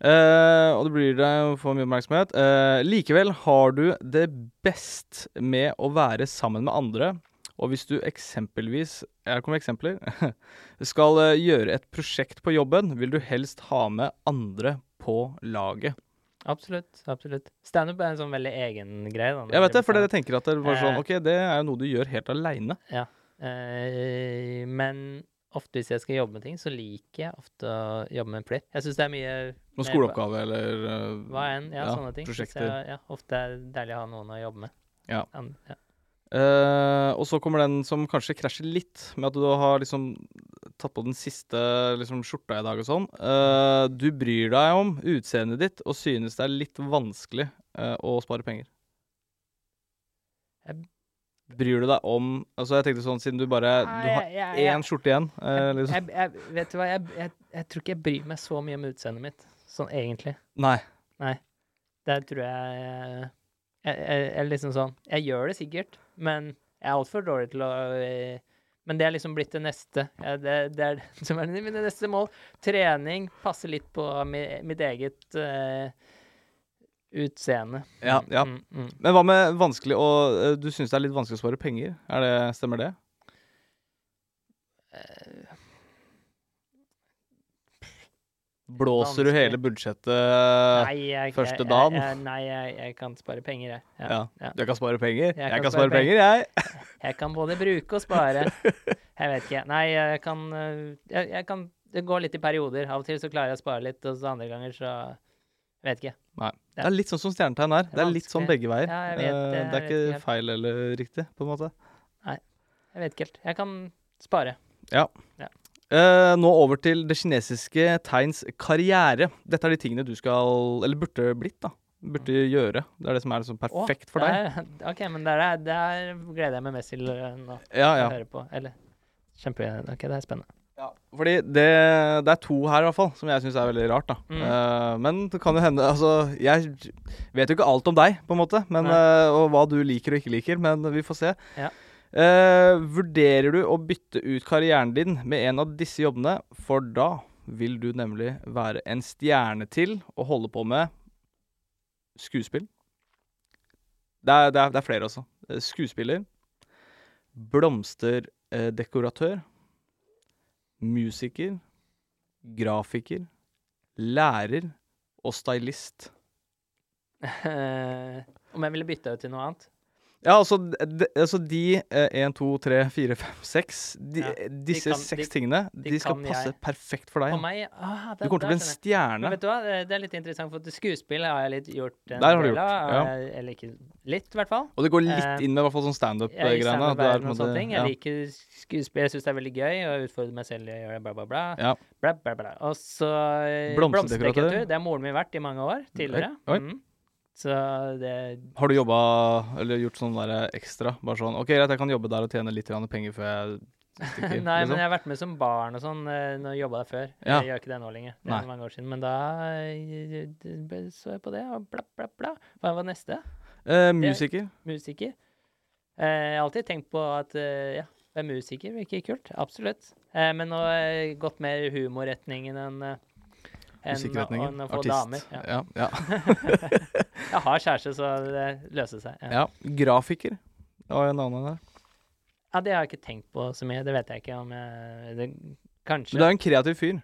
Eh, og det blir deg for mye oppmerksomhet. Eh, likevel har du det best med å være sammen med andre. Og hvis du eksempelvis Her kommer eksempler. [laughs] skal eh, gjøre et prosjekt på jobben, vil du helst ha med andre på laget.
Absolutt. absolutt. Standup er en sånn veldig egen greie. Da,
Jeg vet det, for dere tenker at det var sånn
Eh.
OK, det er jo noe du gjør helt aleine.
Eh, men ofte hvis jeg skal jobbe med ting, så liker jeg ofte å jobbe med plitt. Jeg syns det er mye
Noen
mer-
skoleoppgave eller eh,
Hva enn. Ja,
ja,
sånne ting. synes
prosjekter.
Jeg, ja, ofte er det deilig å ha noen å jobbe med.
Ja.
An- ja.
Eh, og så kommer den som kanskje krasjer litt, med at du har liksom tatt på den siste liksom, skjorta i dag og sånn. Eh, du bryr deg om utseendet ditt og synes det er litt vanskelig eh, å spare penger.
Jeg-
Bryr du deg om Altså, jeg tenkte sånn, siden du bare Du har én skjorte igjen. eh,
jeg,
liksom.
jeg, jeg, Vet du hva, jeg, jeg, jeg tror ikke jeg bryr meg så mye om utseendet mitt, sånn egentlig.
Nei.
Der tror jeg jeg, jeg, jeg liksom sånn Jeg gjør det sikkert, men jeg er altfor dårlig til å eh, Men det er liksom blitt det neste. Ja, det, det er det som er mine neste mål. Trening. Passe litt på mi, mitt eget eh, utseende.
Ja,
Mm,
ja.
Mm, mm.
Men hva med vanskelig å eh, Du synes det er litt vanskelig å spare penger? Er det, stemmer det? Eh, Blåser du
vanskelig.
hele budsjettet
Nei, jeg,
første
jeg-
dagen.
Jeg, jeg, nei, jeg, jeg kan spare penger, jeg. Ja,
Ja.
ja.
Du kan spare penger? Jeg,
kan
kan,
spare
spare penger, jeg.
Jeg kan både bruke og
[laughs]
spare. Jeg vet ikke. Nei, jeg kan øh, jeg, jeg kan Det går litt i perioder. Av og til så klarer jeg å spare litt, og så andre ganger så Jeg vet ikke.
Nei. Det er litt sånn som stjernetegn er. Det er litt sånn
vanskelig.
begge veier.
Ja, jeg vet det,
Eh, det er
jeg vet
ikke
det.
feil eller riktig, på en måte.
Jeg vet ikke helt. Jeg kan spare.
Eh, nå over til det kinesiske tegns karriere. Dette er de tingene du skal Eller burde blitt, da. Burde gjøre. Det er det som er liksom
Mm. Å,
perfekt for deg.
det er- [laughs] OK, men der, er- der gleder jeg meg mest til øh, nå.
Ja,
å
Ah, ja.
høre på. Eller Kjempe... OK, det er spennende. [laughs]
Fordi det, det er to her i hvert fall som jeg syns er veldig rart. da Eh, Men det kan jo hende Altså, jeg vet jo ikke alt om deg, på en måte, men, eh, og hva du liker og ikke liker, men vi får se.
Ja.
Eh, vurderer du å bytte ut karrieren din med en av disse jobbene, for da vil du nemlig være en stjerne til og holde på med skuespill. Det er, det er, det er flere også. Eh, Skuespiller. Blomsterdekoratør musiker, grafiker, lærer og stylist.
Eh, om jeg ville bytta ut til noe annet?
Ja, altså, de, altså de eh, 1, 2, 3, 4, 5, 6 de,
Ja,
eh,
de
Disse
kan-
seks
de-
tingene
de
de skal
kan
passe
jeg.
perfekt for deg.
For
ja.
meg ah, det,
Du kommer til å bli en
Men
stjerne.
vet du hva, det- det er litt interessant, for at skuespill har jeg litt gjort en
Der har du
del
gjort,
av.
ja.
eh, Eller ikke litt, i hvert fall.
Og det går
Eh,
litt inn med i hvert fall sånn
Jeg, er i
standup-greiene. at det er
samarbeid
på en
og sånne
måte-
ting.
ja.
jeg liker skuespill, jeg syns det er veldig gøy, og jeg utfordrer meg selv i å gjøre bla, bla, bla.
Ja.
bla, bla, bla. Og så eh,
Blomsterdekoratør.
blomsterdekoratør. Det har moren min vært i mange år tidligere.
Oi, oi.
Mm. Så det
Har du jobba eller gjort sånn der ekstra? Bare sånn OK, greit, jeg kan jobbe der og tjene litt grann penger før jeg
[laughs]
stikker.
Nei, men
liksom.
jeg har vært med som barn og sånn. eh, Når jeg jobba der før.
Ja.
Jeg gjør ikke det nå lenger. Det
Nei.
er mange år siden. Men da eh, d- så jeg på det, og bla, bla, bla. Hva var neste?
eh, musiker.
Musiker. Eh, Jeg har alltid tenkt på at eh, ja, være musiker virker kult. Absolutt. Eh, Men nå har jeg gått mer i humorretningen enn eh, enn å-
Musikkretningen.
enn å få
Artist.
damer. Ja.
ja, ja.
Jeg har kjæreste, så det løser seg. Ja.
Ja, grafiker. Det var jo en annen der.
Ja, det har jeg ikke tenkt på så mye. Det vet jeg ikke om jeg det, Kanskje.
Men du er jo en kreativ fyr.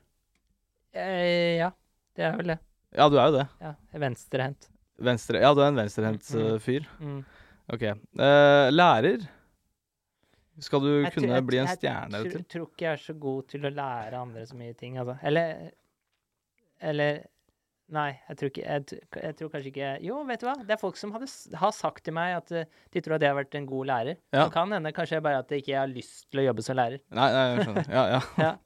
Eh, ja, det er vel det.
Ja, du er jo det.
Ja, Venstrehendt.
Venstre. Ja, du er en venstrehendt
Mm, mm.
eh, fyr.
Mm.
Ok. Eh, lærer. Skal du
Jeg tror-
kunne
jeg-
bli en
jeg
stjerne eller
tror-
til?
tror ikke jeg er så god til å lære andre så mye ting, altså. Eller Eller Nei, jeg tror ikke Jeg, tr- jeg tror kanskje ikke Jo, vet du hva? Det er folk som hadde, s- har sagt til meg at eh, de tror at jeg har vært en god lærer.
Ja.
Det kan hende kanskje jeg bare at jeg ikke har lyst til å jobbe som lærer.
Nei, nei, jeg skjønner. Ja, ja.
[laughs] Ja.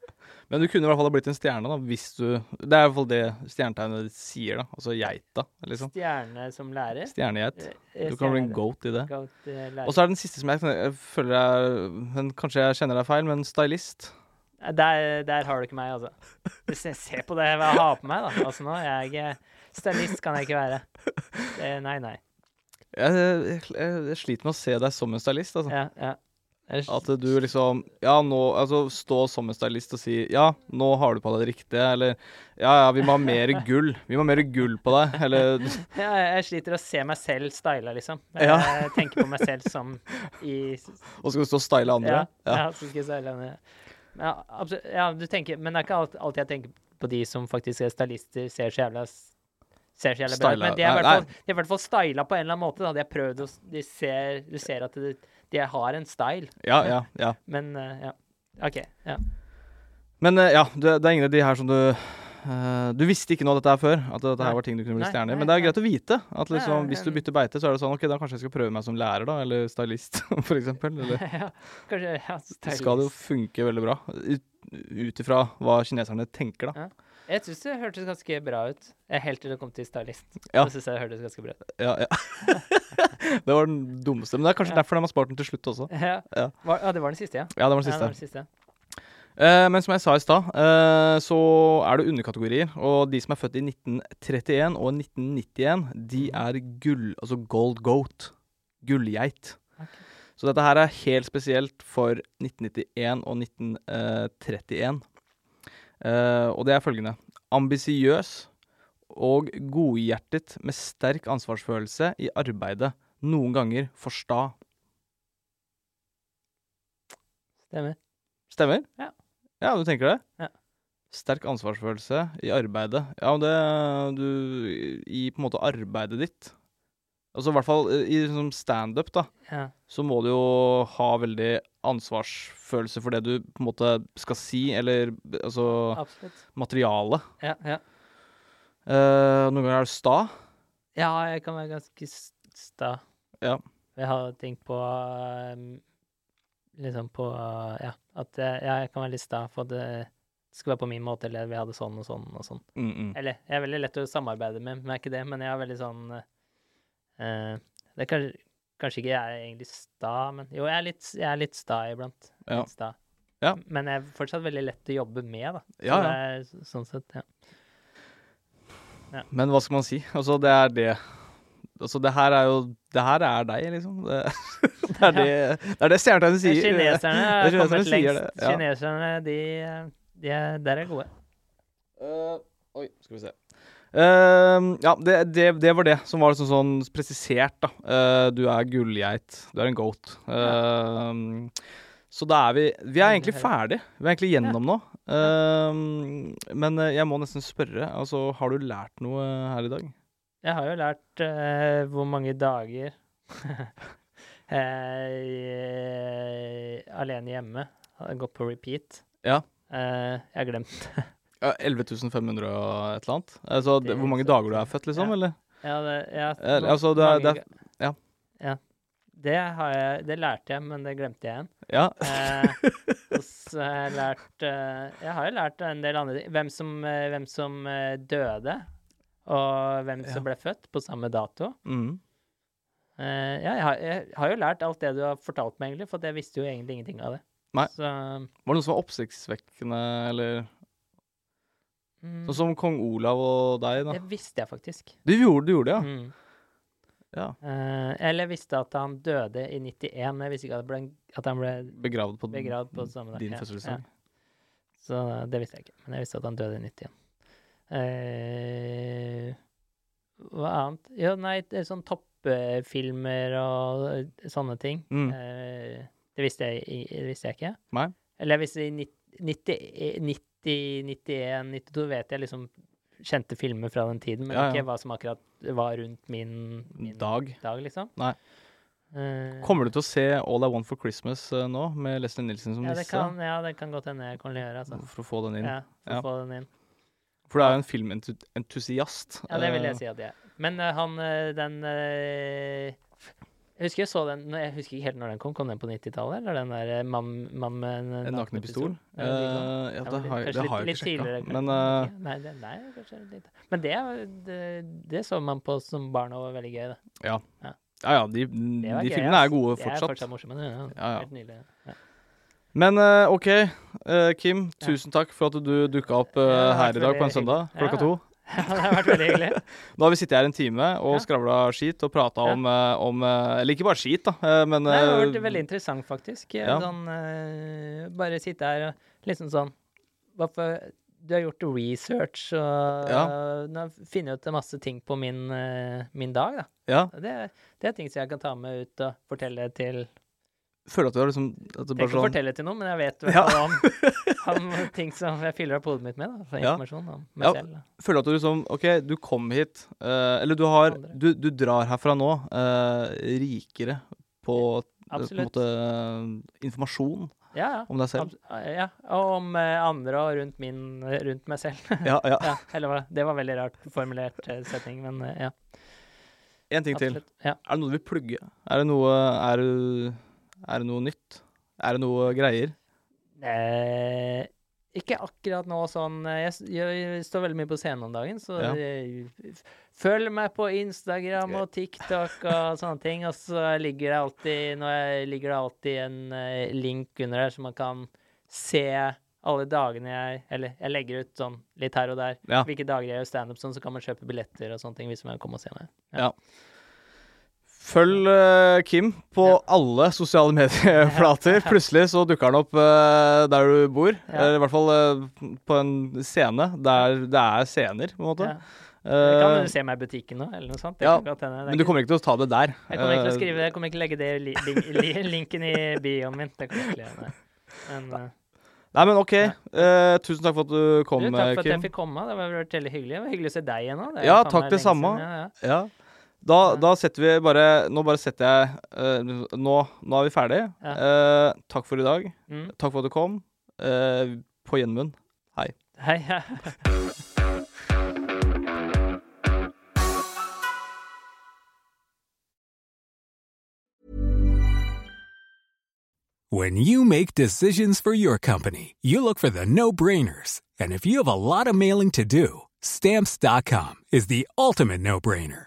Men du kunne i hvert fall ha blitt en stjerne, da, hvis du Det er i hvert fall det stjernetegnet ditt sier, da. Altså geita, liksom.
Stjerne som lærer.
Stjernegeit.
Eh,
Du kan bli en
stjerne-
goat i det.
goat, eh, lærer.
Og så er den siste som jeg, jeg føler er men Kanskje jeg kjenner deg feil, men stylist.
Nei, Der, der har du ikke meg, altså. Hvis jeg ser på det hva jeg har på meg, da. Altså nå, er jeg ikke Stylist kan jeg ikke være. Det, nei, nei.
Jeg, jeg, jeg, jeg sliter med å se deg som en stylist, altså.
Ja, ja. Jeg-
At du liksom Ja, nå Altså, stå som en stylist og si Ja, nå har du på deg det riktige, eller Ja, ja, vi må ha
[laughs]
mer gull. Vi må ha mer gull på deg, eller
ja, jeg sliter å se meg selv styla, liksom. Jeg
Ja.
tenker på meg selv som i
Og så skal du stå og style [laughs] andre.
Ja, ja. så skal jeg style henne. Ja, absolutt. Ja, du tenker Men det er ikke alt- alltid jeg tenker på de som faktisk er stylister, ser så jævla s- Ser så jævla bra ut.
Styla.
Men de er i
Nei,
hvert fall-
nei.
de er i hvert fall styla på en eller annen måte, da. De har prøvd å s- de ser, Du ser at de, de har en style.
Ja, ja, ja.
Men eh, ja. OK. Ja.
Men eh, ja, det, det er ingen av de her som du eh, Du visste ikke noe av dette her før, at dette her
Nei.
var ting du kunne bli
Nei,
stjerne i.
nei,
Men det er
nei.
greit å vite at
Ja,
liksom,
ja,
hvis du
ja.
bytter beite, så er det sånn OK, da kanskje jeg skal prøve meg som lærer, da, eller stylist, [laughs] for eksempel. Eller
ja. Kanskje [laughs] ja,
det skal det jo
stylist.
funke veldig bra. Ut ifra hva kineserne tenker, da.
Jeg syns det hørtes ganske bra ut. Eh, Helt til det kom til stylist.
Ja.
Da synes jeg det hørtes ganske bra ut.
Ja, [laughs] ja. det var den dummeste. Men det er kanskje
Ja.
derfor de har spart den til slutt også.
Ja.
Ja.
Var, ja, det var den siste, ja.
Ja, det var den
Ja, det var
siste.
den siste.
Eh, men som jeg sa i stad, eh, så er det underkategorier. Og de som er født i 1931 og 1991, de er gull... Altså gold goat. Gullgeit. Så dette her er helt spesielt for 1991 og 1931. Eh, og det er følgende. Ambisiøs og godhjertet med sterk ansvarsfølelse i arbeidet. Noen ganger for sta.
Stemmer.
Stemmer?
Ja.
Ja, du tenker det?
Ja.
Sterk ansvarsfølelse i arbeidet. Ja, men det du I på en måte arbeidet ditt. Altså i hvert fall eh, i liksom standup, da,
Ja.
så må du jo ha veldig ansvarsfølelse for det du på en måte skal si, eller altså
Absolutt.
materialet.
Ja, ja.
Eh, noen ganger er du sta.
ja, jeg kan være ganske s- sta.
Ja.
Jeg har tenkt på um, Liksom på uh, Ja, at jeg, jeg kan være litt sta for at det skal være på min måte, eller vi hadde sånn og sånn og sånn.
Mm -mm.
Eller jeg er veldig lett å samarbeide med, men jeg er ikke det. Men jeg er veldig sånn eh, Det er kanskje, kanskje ikke jeg er egentlig sta, men jo, jeg er litt, jeg er litt sta iblant.
Ja.
Litt sta.
Ja.
Men jeg er fortsatt veldig lett å jobbe med, da. Så
Ja, ja.
Det er, sånn sett, ja.
Men hva skal man si? Altså, det er det Altså, det her er jo Det her er deg, liksom. Det, [laughs] det er det, det, er det stjernetegnet sier.
Kineserne har
[laughs] Det er
kommet
sier
lengst.
det, ja.
Kineserne, de, de er, der er gode.
Eh, oi, skal vi se. Ehm, ja, det, det, det var det som var liksom sånn presisert, da. Eh, du er gullgeit. Du er en goat. Ehm, så da er vi Vi er egentlig ferdig. Vi er egentlig gjennom nå. Ehm, men eh, jeg må nesten spørre. Altså, har du lært noe her i dag?
Jeg har jo lært eh, hvor mange dager [laughs] eh, alene hjemme. Har gått på repeat.
Ja.
Eh, jeg har glemt
Ja, 11 500 og et eller annet? Altså,
Det
det,
er
hvor mange
sant.
dager du er født, liksom?
Ja.
Eller?
ja, det, ja,
Eh,
hvor
altså, det er-
mange
det
ga-
ja.
ja. Det, har jeg, det lærte jeg, men det glemte jeg igjen.
Ja.
Eh, og så har jeg lært eh, Jeg har jo lært en del andre ting. Hvem som, eh, hvem som eh, døde, og hvem
Ja.
som ble født på samme dato.
Mm.
Eh, ja, jeg har, jeg har jo lært alt det du har fortalt meg, egentlig, for at jeg visste jo egentlig ingenting av det.
Nei.
Så,
Var det noe som var oppsiktsvekkende, eller
mm,
Sånn som kong Olav og deg, da?
det visste jeg faktisk.
Du gjorde, du gjorde det, ja?
Mm.
ja.
Eh, eller jeg visste at han døde i 91, men jeg visste ikke at, det ble, at han ble
Begravd på
begravd på samme
Mm.
dag.
din
Ja,
fødselsdag.
ja. Så eh, det visste jeg ikke, men jeg visste at han døde i 91. Eh, hva annet? Jo, nei, det er sånn toppfilmer og eh, sånne ting.
Mm.
Eh, det, visste jeg, i- det visste jeg ikke.
Nei.
Eller jeg visste i nitt- 90, 90, 91, 92 vet jeg liksom kjente filmer fra den tiden, men
Ja, ja.
ikke hva som akkurat var rundt min, min dag.
Dag.
liksom.
Nei.
Eh,
Kommer du til å se All I Want for Christmas eh, nå, med Leslie Nilsen som
ja, det
nisse?
kan, ja, det kan godt hende jeg kommer til å gjøre, altså.
For å få den inn.
Ja, for
Ja.
å få den inn.
For du er jo en filmentusiast.
Ja, det vil
eh,
jeg si at jeg er. Men eh, han eh, den eh, Jeg husker jeg så den nå- Jeg husker ikke helt når den kom. Kom den på 90-tallet, eller den der eh, mann mann med en eh,
En nakne pistol?
Ja, det liker han.
Eh, ja,
Ja,
det
men
har, jeg-
litt-
det
kanskje
har jeg
litt-
ikke sjekka.
litt tidligere,
Men
kanskje.
eh,
Nei, det, nei, kanskje litt Men det, det, det så man på som barn og var veldig gøy, da.
ja, ja, de,
Det var
de
gøy,
filmene
ass.
er gode
De er
fortsatt.
fortsatt morsomme. Ja, ja.
Ja, ja.
Helt nydelig. [laughs] Ja.
Men eh, OK, eh, Kim.
Ja.
Tusen takk for at du dukka opp eh,
Ja, det har
her
vært
i dag på en
veldig
søndag
hyggelig.
klokka
Ja.
to.
det har vært veldig hyggelig.
Nå har vi sittet her en time og
Ja.
skravla skit og prata
Ja.
om, eh, om eh, Eller ikke bare skit, da, eh, men
Nei, det har
eh,
vært veldig interessant, faktisk.
ja.
Sånn, eh, bare sitte her og liksom sånn Hvorfor Du har gjort research og
Ja.
nå finner jeg ut masse ting på min, eh, min dag, da.
Ja.
Og Det, er- det er ting som jeg kan ta med ut og fortelle til
Føler at du har liksom at det bare
Trenger ikke å
sånn,
fortelle til noen, men jeg vet i
Ja.
hvert
[laughs]
fall om, om ting som jeg fyller opp hodet mitt med. Da, for
Ja.
informasjon om
Ja.
meg selv. Da.
Føler at du liksom OK, du kom hit. eh, eller du har
Andre.
du, du drar herfra nå eh, rikere på, eh, på en
Absolutt.
måte eh, informasjon
Ja, ja.
om deg selv.
Abs- ja. Og om eh, andre og rundt, min, eh, rundt meg selv.
Ja, ja.
ja, eller hva? Det var veldig rart formulert eh, setning, men eh, ja.
En ting til.
Absolutt. Ja.
Er det noe du vil plugge? Er det noe, er det, er det noe nytt? Er det noe greier?
Eh, ikke akkurat nå sånn eh, Jeg, s- jeg, jeg står veldig mye på scenen om dagen, så
Ja.
eh, f- følg meg på Instagram og TikTok og [laughs] sånne ting. Og så ligger det alltid, nå er- ligger det alltid en eh, link under her, så man kan se alle dagene jeg Eller jeg legger ut sånn litt her og der
Ja.
hvilke dager jeg gjør standup, sånn, så kan man kjøpe billetter og sånne ting hvis man vil komme og se meg.
Følg eh, Kim på
Ja.
alle sosiale
[laughs]
medieflater. Plutselig så dukker han opp eh, der du bor. Eller i hvert fall eh, på en scene der det er scener, på en måte.
Ja. Eller
Eh,
Kan du se meg i butikken nå, eller noe sånt? Det
ja,
kan godt hende. Det er
men du
ikke-
kommer ikke til å ta det der.
Jeg kommer ikke til å
Eh,
skrive Jeg kommer ikke legge det i li, bing- li, linken i bioen min. Det kommer jeg ikke til å gjøre, nei. Men eh,
Nei, men OK. Eh, tusen takk for at du kom, eh,
du, takk for at jeg
Kim.
fikk komme. Det har vært veldig hyggelig. Det var hyggelig å se deg igjen òg.
Ja, takk, det samme.
Ja, ja.
Ja. Da, da setter vi bare Nå bare setter jeg eh, nå, nå er vi ferdige. Eh, takk for i dag.
Mm.
Takk for at du kom. Eh, på gjenmunn.
Hei, ja.
When you make decisions for your company, you look for the no brainers. And if you have a lot of mailing to do, stamps.com is the ultimate no brainer.